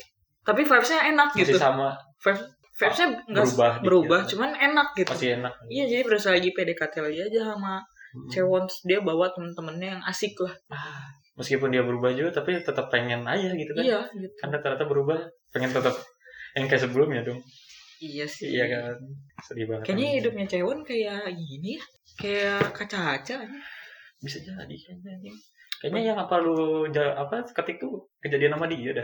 S2: tapi vibesnya enak gitu
S1: Masih sama.
S2: Vibes- vibesnya nggak
S1: Ah, Berubah dikit.
S2: berubah cuman enak gitu
S1: Masih enak.
S2: iya jadi berasa lagi PDKT lagi aja sama
S1: Hmm.
S2: cewek terus dia bawa temen-temennya yang asik lah
S1: Meskipun dia berubah juga, tapi tetap pengen aja gitu kan.
S2: iya gitu
S1: Kan rata-rata berubah, pengen tetap yang kayak sebelumnya dong.
S2: iya sih
S1: Iya kan. Sedih banget.
S2: kayaknya
S1: anjing.
S2: hidupnya cewek kayak gini ya kayak kaca-kaca
S1: bisa jadi kayaknya anjing. kayaknya yang apa lu ja- apa ketik tuh kejadian sama dia dah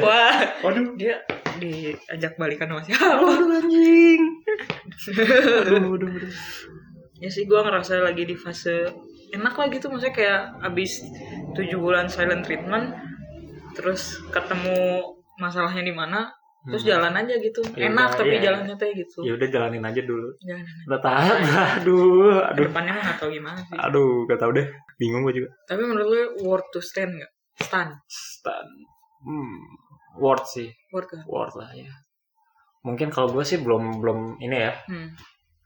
S2: wah
S1: waduh
S2: dia diajak balikan sama siapa
S1: anjing waduh waduh waduh
S2: ya sih gue ngerasa lagi di fase enak lah gitu maksudnya kayak abis tujuh bulan silent treatment terus ketemu masalahnya di mana terus
S1: Hmm.
S2: jalan aja gitu
S1: Ya
S2: enak
S1: udah,
S2: tapi
S1: iya.
S2: jalannya teh gitu
S1: ya udah jalanin aja dulu
S2: jalan
S1: udah tahan
S2: Iya.
S1: aduh aduh
S2: depannya mah nggak tahu gimana sih
S1: aduh gak tau deh bingung gue juga
S2: tapi menurut lu worth to stand nggak stand
S1: stan hmm word sih
S2: worth gak
S1: word lah ya mungkin kalau gue sih belum belum ini ya
S2: hmm.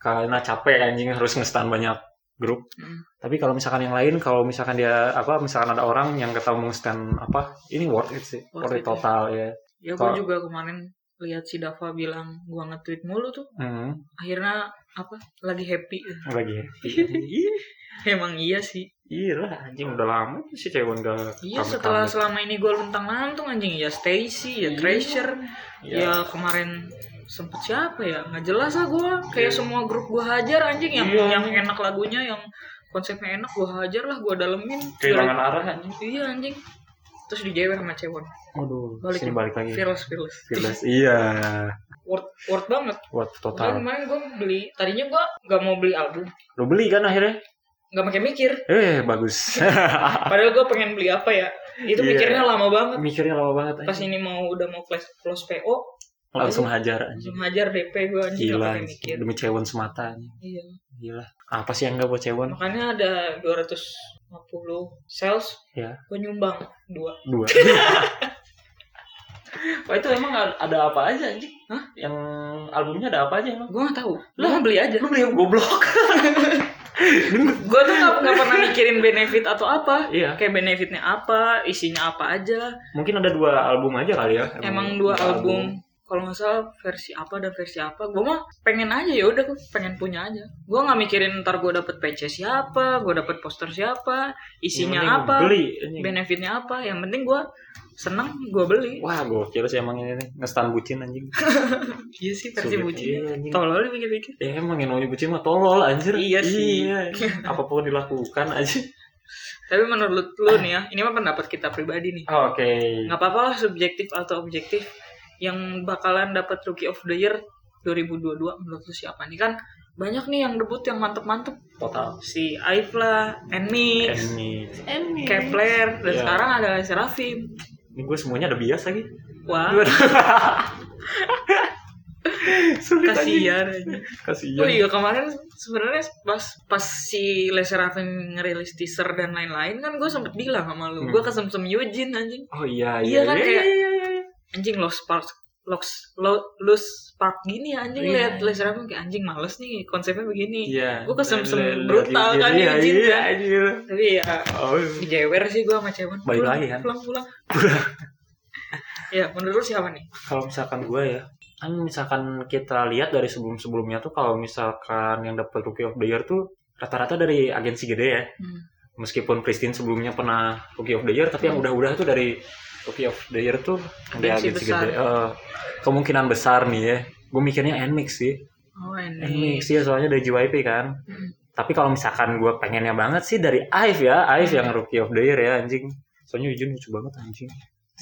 S1: karena capek anjing harus ngestan banyak grup
S2: hmm.
S1: Tapi kalau misalkan yang lain, kalau misalkan dia apa, misalkan ada orang yang ketemu stand apa, ini worth it sih, worth, it
S2: Worth it ya.
S1: total ya.
S2: ya gue
S1: Kalau-
S2: juga kemarin lihat si Dava bilang gua nge-tweet mulu tuh
S1: Hmm,
S2: akhirnya apa lagi happy
S1: lagi.
S2: emang iya sih
S1: Iya lah, anjing udah lama tuh si cewek enggak.
S2: Iya setelah selama ini gue luntang lantung anjing ya Stacy ya Treasure
S1: Iya.
S2: ya kemarin sempet siapa ya nggak jelas lah gue kayak semua grup gue hajar anjing yang
S1: Iya.
S2: yang enak lagunya yang konsepnya enak gue hajar lah gue dalemin
S1: Kehilangan arah kan? anjing.
S2: iya anjing terus dijewer sama Cewon
S1: Aduh,
S2: Balik
S1: sini
S2: ya.
S1: balik lagi.
S2: fearless fearless
S1: Fearless. Iya,
S2: worth worth banget
S1: worth
S2: Makanya
S1: total.
S2: kemarin gue beli tadinya gue nggak mau beli album
S1: Lu beli kan akhirnya?
S2: nggak pakai mikir
S1: Eh, bagus.
S2: Iya. padahal gue pengen beli apa ya itu
S1: Iya.
S2: mikirnya lama banget
S1: Mikirnya lama banget
S2: pas
S1: anjing.
S2: ini mau udah mau close close PO
S1: Langsung hajar anjing.
S2: langsung hajar DP gue
S1: Hmm.
S2: anjing nggak
S1: Gila,
S2: pakai
S1: anjing.
S2: mikir
S1: demi cewek semata anjing.
S2: iya
S1: Gila. Apa sih yang enggak buat cewek?
S2: makanya ada 250 sales
S1: Ya.
S2: gue nyumbang dua
S1: dua Wah Oh, itu emang a- ada apa aja anjing?
S2: Hah?
S1: Yang albumnya ada apa aja emang?
S2: gue nggak tahu lo mau beli aja
S1: Lu beli yang goblok.
S2: gue tuh nggak nggak pernah mikirin benefit atau apa
S1: iya,
S2: kayak benefitnya apa isinya apa aja
S1: mungkin ada dua album aja kali ya.
S2: emang dua album kalau nggak salah versi apa dan versi apa gue mah pengen aja ya udah pengen punya aja gue nggak mikirin ntar gue dapet PC siapa gue dapet poster siapa isinya
S1: Yang penting
S2: apa
S1: Beli. anjing.
S2: benefitnya apa yang penting gue seneng gue beli
S1: Wah, gokil sih emang ini nih. Ngestan bucin anjing.
S2: Iya sih versi
S1: Sulit.
S2: bucin.
S1: Iya, anjing.
S2: Tolol nih pikir-pikir.
S1: Ya emang yang namanya bucin mah tolol anjir.
S2: Iya sih.
S1: Iya. Apapun dilakukan aja.
S2: Tapi menurut lu nih ya, ini mah pendapat kita pribadi nih.
S1: Oke.
S2: Nggak apa-apa lah subjektif atau objektif. Yang bakalan dapat Rookie of the Year 2022 menurut lu siapa nih kan? Banyak nih yang debut yang mantep-mantep.
S1: Total.
S2: Si Aif lah, Enmix,
S1: Ini.
S2: Kepler, dan
S1: Iya.
S2: sekarang ada Serafim.
S1: Ini gue semuanya ada bias lagi.
S2: Wah,
S1: Iya, Sulit anjing.
S2: kasihan aja.
S1: Kasihan.
S2: Oh iya kemarin sebenarnya pas pas si Les Serafim ngerilis teaser dan lain-lain kan gue sempet bilang sama lu,
S1: Hmm.
S2: gue kesemsem Eugene anjing.
S1: Oh iya
S2: Iya
S1: iya.
S2: kan,
S1: iya,
S2: kayak-
S1: iya, iya.
S2: anjing lost spark lost lo, lost spark gini ya anjing
S1: Iya.
S2: lihat laser aku kayak anjing males nih konsepnya begini
S1: Iya.
S2: Gua
S1: Lihat-
S2: kesemsem
S1: lihat
S2: brutal
S1: bibir,
S2: kan,
S1: Iya,
S2: izin
S1: iya,
S2: kan.
S1: anjir.
S2: tapi ya
S1: Oh,
S2: dijewer sih gua sama cewek
S1: Balik
S2: Pulang,
S1: lagi kan?
S2: pulang pulang ya menurut lu siapa nih
S1: kalau misalkan gue ya, kan misalkan kita lihat dari sebelum-sebelumnya tuh kalau misalkan yang dapat Rookie of the Year tuh rata-rata dari agensi gede ya.
S2: Hmm.
S1: meskipun Christine sebelumnya pernah Rookie of the Year tapi yang udah-udah tuh dari Rookie of the Year tuh ada
S2: Agensi
S1: agensi
S2: besar.
S1: gede. Eh, kemungkinan besar nih ya gue mikirnya Nmix sih
S2: Oh ini.
S1: Nmix ya soalnya dari JYP kan
S2: Mm.
S1: tapi kalau misalkan gue pengennya banget sih dari Ive ya Ive yang Rookie of the Year ya anjing soalnya Yujin lucu banget anjing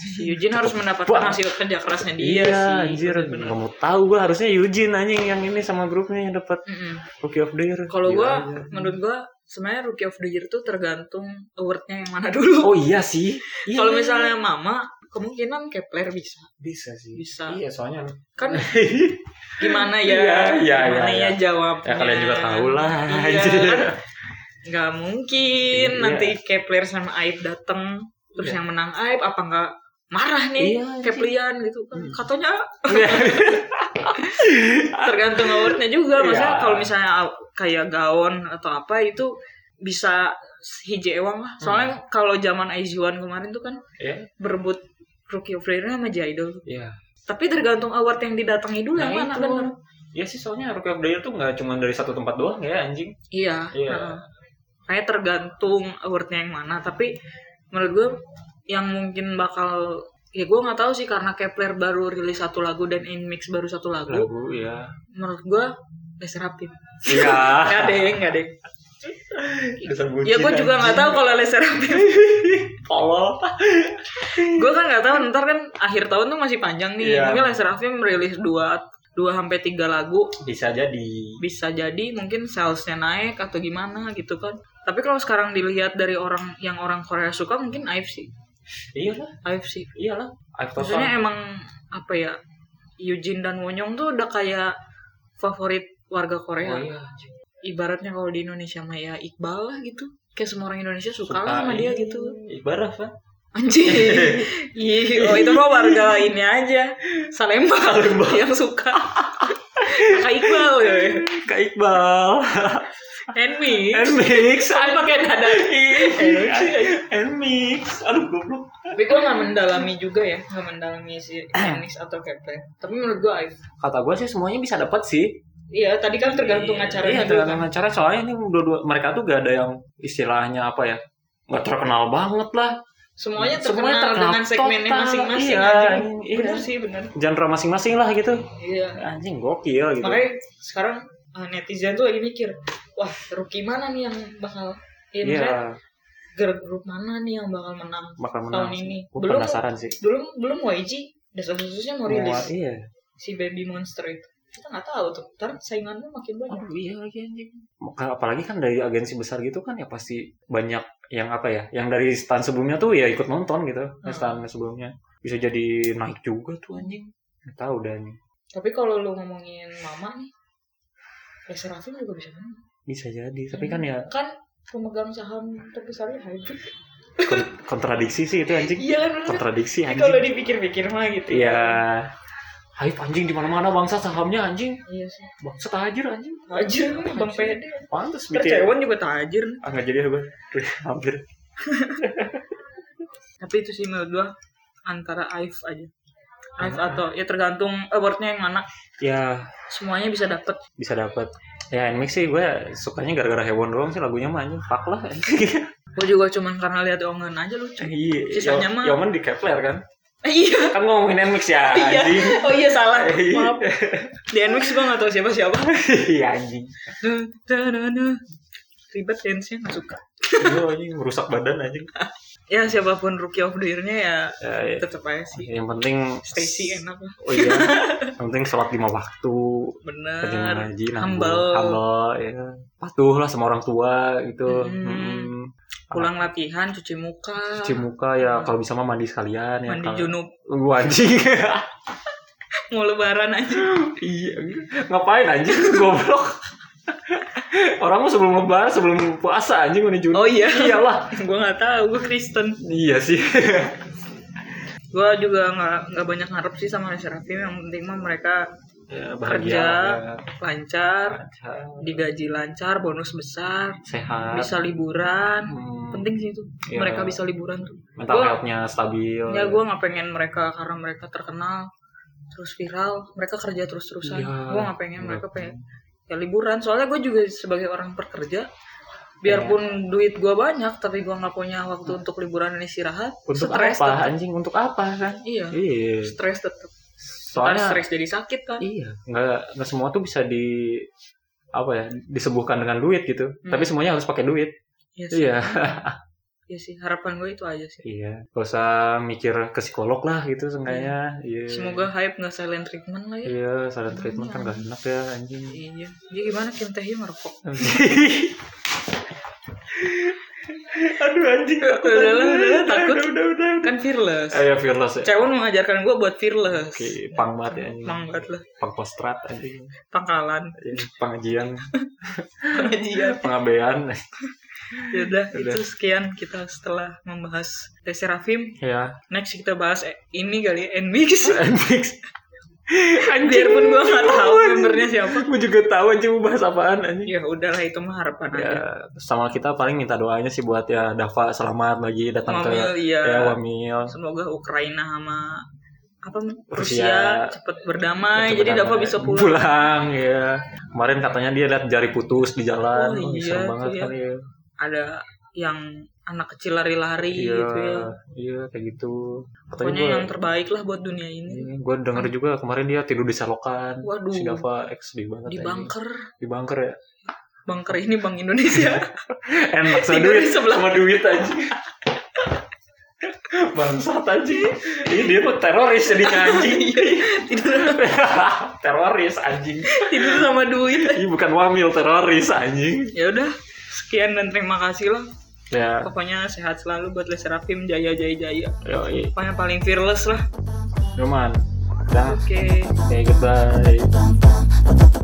S2: Si Eugene harus mendapatkan
S1: Wah.
S2: hasil kerja kerasnya
S1: iya
S2: dia sih.
S1: anjir
S2: bener.
S1: nggak mau tahu gue harusnya Yujin anjing yang ini sama grupnya yang dapat
S2: Mm-mm.
S1: Rookie of the Year
S2: Kalau
S1: Gila
S2: gue,
S1: aja.
S2: menurut gue, sebenarnya Rookie of the Year tuh tergantung awardnya yang mana dulu.
S1: oh iya sih Iya.
S2: Kalau misalnya Mama, kemungkinan Kepler bisa.
S1: bisa sih
S2: Bisa.
S1: iya soalnya
S2: Kan gimana ya?
S1: Iya, iya,
S2: gimana
S1: iya, iya.
S2: ya, jawabnya?
S1: ya kalian juga tahu lah
S2: Iya,
S1: anjir.
S2: kan? Nggak mungkin
S1: Iya.
S2: nanti Kepler sama Aib dateng. Terus
S1: Iya.
S2: yang menang Aib, apa nggak marah nih
S1: Iya, anjing.
S2: Keplian gitu kan.
S1: Hmm.
S2: Katanya tergantung awardnya juga maksudnya
S1: Iya.
S2: kalau misalnya aw- kayak gaun atau apa itu bisa hiji ewang
S1: Hmm.
S2: lah soalnya kalau zaman Aizuan kemarin tuh kan
S1: Iya.
S2: berebut Rookie of the Year sama Jaidol
S1: Iya.
S2: tapi tergantung award yang didatangi dulu yang mana
S1: Nah, itu.
S2: bener
S1: Iya sih soalnya Rookie of the Year tuh nggak cuma dari satu tempat doang ya anjing.
S2: iya
S1: Iya.
S2: heeh. kayak tergantung awardnya yang mana tapi menurut gue yang mungkin bakal ya gue nggak tahu sih karena Kepler baru rilis satu lagu dan Inmix baru satu lagu iya.
S1: Lagu ya.
S2: menurut gue Lester Rapim
S1: Iya.
S2: nggak deng nggak deng
S1: Dasar bucin,
S2: Ya gue juga nggak
S1: anjing.
S2: tahu kalau laser
S1: Tolol.
S2: gue kan nggak tahu ntar kan akhir tahun tuh masih panjang nih.
S1: Iya.
S2: Mungkin laser Afim merilis dua dua sampai tiga lagu
S1: Bisa jadi.
S2: bisa jadi mungkin salesnya naik atau gimana gitu kan. Tapi kalau sekarang dilihat dari orang yang orang Korea suka mungkin IVE sih.
S1: Iya lah.
S2: IVE sih.
S1: Iya lah. I've total.
S2: Maksudnya emang apa ya Eugene dan Wonyong tuh udah kayak favorit warga Korea.
S1: Oh, iya. anjing.
S2: Ibaratnya kalau di Indonesia mah ya Iqbal lah gitu. Kayak semua orang Indonesia suka,
S1: Suka,
S2: lah sama
S1: iya.
S2: dia gitu.
S1: Ibarah kan.
S2: Anjing. Ih, oh itu mah warga ini aja. Salembang, yang suka. Kakak Iqbal ya.
S1: Eh, Kak Iqbal.
S2: And me.
S1: And mix.
S2: Saya pakai dada.
S1: And mix. Aduh goblok.
S2: Tapi gue gak mendalami juga ya. Gak mendalami si Enix atau Kepler. Tapi menurut gue Aif.
S1: Kata gue sih semuanya bisa dapat sih.
S2: Iya, tadi kan tergantung
S1: Iya,
S2: acaranya
S1: iya,
S2: dulu
S1: tergantung
S2: kan.
S1: acara soalnya ini dua-dua mereka tuh gak ada yang istilahnya apa ya nggak terkenal banget lah
S2: Semuanya terkenal,
S1: Semuanya terkenal
S2: dengan segmennya
S1: total,
S2: masing-masing.
S1: iya,
S2: anjing.
S1: iya.
S2: Bener sih, bener.
S1: genre masing-masing lah gitu
S2: Iya.
S1: anjing gokil gitu
S2: Makanya sekarang eh, netizen tuh lagi mikir, wah rookie mana nih yang bakal ya, maksudnya
S1: iya
S2: girl group mana nih yang bakal menang
S1: bakal menang
S2: tahun ini?
S1: gue
S2: belum
S1: penasaran sih
S2: belum belum YG dasar khususnya mau rilis
S1: Wah, iya
S2: si Baby Monster itu. Kita nggak tahu tuh. Ntar saingannya makin banyak.
S1: Aduh, iya lagi anjing Maka- apalagi kan dari agensi besar gitu kan ya pasti banyak yang apa ya yang dari stand sebelumnya tuh ya ikut nonton gitu
S2: Hmm.
S1: stand sebelumnya bisa jadi naik juga tuh anjing Nggak tahu dah anjing
S2: Tapi kalau lu ngomongin Mama nih, ya Serafim juga bisa menang.
S1: bisa jadi tapi kan ya
S2: Kan pemegang saham terbesarnya Hybrid.
S1: kon- kontradiksi sih itu anjing
S2: Iya kan bener.
S1: kontradiksi
S2: Tapi kalau
S1: anjing
S2: dipikir-pikir mah gitu.
S1: Iya. Hype anjing di mana-mana bangsa sahamnya anjing.
S2: Iya sih. Iya
S1: Bangsa tajir anjing.
S2: Tajir nih Bang PD.
S1: Pantes
S2: Ntar
S1: BTW.
S2: Cewon juga tajir.
S1: Ah enggak jadi apa? Hampir.
S2: Tapi itu sih menurut gua antara Ive aja. Ive atau ya tergantung awardnya yang mana.
S1: Ya
S2: Semuanya bisa dapet.
S1: bisa dapat. Ya Nmix sih gue sukanya gara-gara hewan doang sih lagunya mah anjing. Fuck lah anjing.
S2: Gue juga cuman karena lihat ongen aja lucu.
S1: Iya.
S2: Sisanya
S1: Yo-
S2: mah-
S1: Yoman di Kepler kan.
S2: Eh, iya.
S1: Kan gua ngomongin Nmix ya
S2: Iya.
S1: anjing.
S2: Oh iya salah.
S1: Iya.
S2: Maaf. Di NMIX gue gak tau siapa-siapa.
S1: Iya anjing.
S2: Duh, duh, duh, duh. Ribet dance-nya gak suka.
S1: Iya anjing merusak badan anjing.
S2: Ya siapapun rookie of the year-nya ya
S1: Ya, ya.
S2: tetep aja sih.
S1: Yang penting
S2: Stacy enak lah.
S1: Oh iya. Yang penting sholat lima waktu. rajin
S2: Bener.
S1: rajin
S2: humble.
S1: humble ya patuh lah sama orang tua gitu
S2: Hmm.
S1: Mm-mm.
S2: Pulang latihan, cuci muka.
S1: cuci muka ya kalau bisa mah mandi sekalian ya
S2: Mandi
S1: kalau-
S2: junub.
S1: Wah, anjing
S2: Mau lebaran aja.
S1: iya ngapain anjing goblok orang mah sebelum lebaran sebelum puasa anjing mandi junub
S2: Oh iya.
S1: iyalah
S2: gue gak tahu gue Kristen.
S1: iya sih
S2: Gue juga gak, nggak banyak ngarep sih sama Serafim. Yang penting mah mereka
S1: ya,
S2: Kerja.
S1: bahagia ya.
S2: lancar.
S1: Bahagia,
S2: Digaji lancar, bonus besar.
S1: sehat
S2: Bisa liburan.
S1: Hmm,
S2: Penting sih itu.
S1: Iya.
S2: Mereka bisa liburan tuh.
S1: mental
S2: Gua-
S1: healthnya stabil
S2: Ya gue nggak pengen mereka karena mereka terkenal terus viral, mereka kerja terus-terusan.
S1: Iya.
S2: Gue nggak pengen
S1: Nggak
S2: mereka pengen ya liburan. Soalnya gue juga sebagai orang pekerja,
S1: Iya.
S2: biarpun duit gua banyak tapi gua nggak punya waktu untuk liburan dan istirahat
S1: Untuk
S2: stres
S1: apa
S2: tetap.
S1: anjing? Untuk apa kan?
S2: iya
S1: Iya.
S2: stres tetap Ntar
S1: Soalnya
S2: stres jadi sakit kan
S1: iya, nggak nggak semua tuh bisa di apa ya disembuhkan dengan duit gitu.
S2: Hmm.
S1: Tapi semuanya harus pakai duit.
S2: iya sih,
S1: Iya.
S2: Iya sih harapan gue itu aja sih
S1: Iya. Gak usah mikir ke psikolog lah gitu seenggaknya. Iya.
S2: Hmm. semoga hype nggak silent treatment lah ya
S1: Iya, saran treatment kan gak enak ya anjing.
S2: iya jadi gimana Kim Tae Hee merokok
S1: Aduh anjing aku
S2: Udah lah, udah lah, takut.
S1: Udah udah udah. udah.
S2: kan fearless
S1: Ayo fearless ya.
S2: Cewon mengajarkan gue buat fearless
S1: Oke, pang banget ya anjing.
S2: Emang banget lah
S1: Pang postrat anjing.
S2: pangkalan
S1: Ini pengajian, Ya
S2: pengajian
S1: pengabean.
S2: Yaudah,
S1: Udah.
S2: Iya. itu sekian kita setelah membahas Reserafim.
S1: ya.
S2: Next kita bahas eh, ini kali ya,
S1: Oh,
S2: Nmix.
S1: iya. Anjing.
S2: Biarpun gue nggak tahu
S1: Anjing.
S2: membernya siapa.
S1: Gue juga tahu anjing mau bahas apaan anjing.
S2: Ya udahlah itu mah harapan aja.
S1: Ya, sama kita paling minta doanya sih buat ya Dava selamat lagi datang ke
S2: Wamil iya.
S1: ya Wamil.
S2: Semoga Ukraina sama apa
S1: Rusia.
S2: Rusia, cepet
S1: Cepet
S2: berdamai. Ah, Jadi
S1: datang,
S2: Dava
S1: ya.
S2: bisa pulang.
S1: pulang ya. Kemarin katanya dia lihat jari putus di jalan.
S2: Oh,
S1: Oh,
S2: iya,
S1: serem banget
S2: iya.
S1: kan ya.
S2: Ada yang anak kecil lari-lari
S1: Iya,
S2: gitu ya.
S1: iya kayak gitu.
S2: Pokoknya
S1: gua-
S2: yang terbaik lah buat dunia ini.
S1: Iya, gue denger juga kemarin dia tidur di selokan.
S2: Waduh.
S1: Si Dava X di banget.
S2: Di
S1: anjing.
S2: bunker,
S1: Di bunker ya.
S2: bunker ini Bank Indonesia.
S1: Enak sama
S2: Tidur
S1: duit.
S2: di sebelah.
S1: Sama duit aja. Bangsat aja. Ini dia mah teroris jadinya anjing.
S2: Iya, tidur,
S1: teroris anjing.
S2: tidur sama duit.
S1: Ini bukan wamil teroris anjing.
S2: ya udah sekian dan terima kasih lah
S1: Ya,
S2: pokoknya sehat selalu buat Les Serafim jaya jaya jaya
S1: yoi.
S2: pokoknya paling fearless lah
S1: Cuman, dah.
S2: oke
S1: Okay, goodbye.
S3: Tang, tang, tang, tang, tang.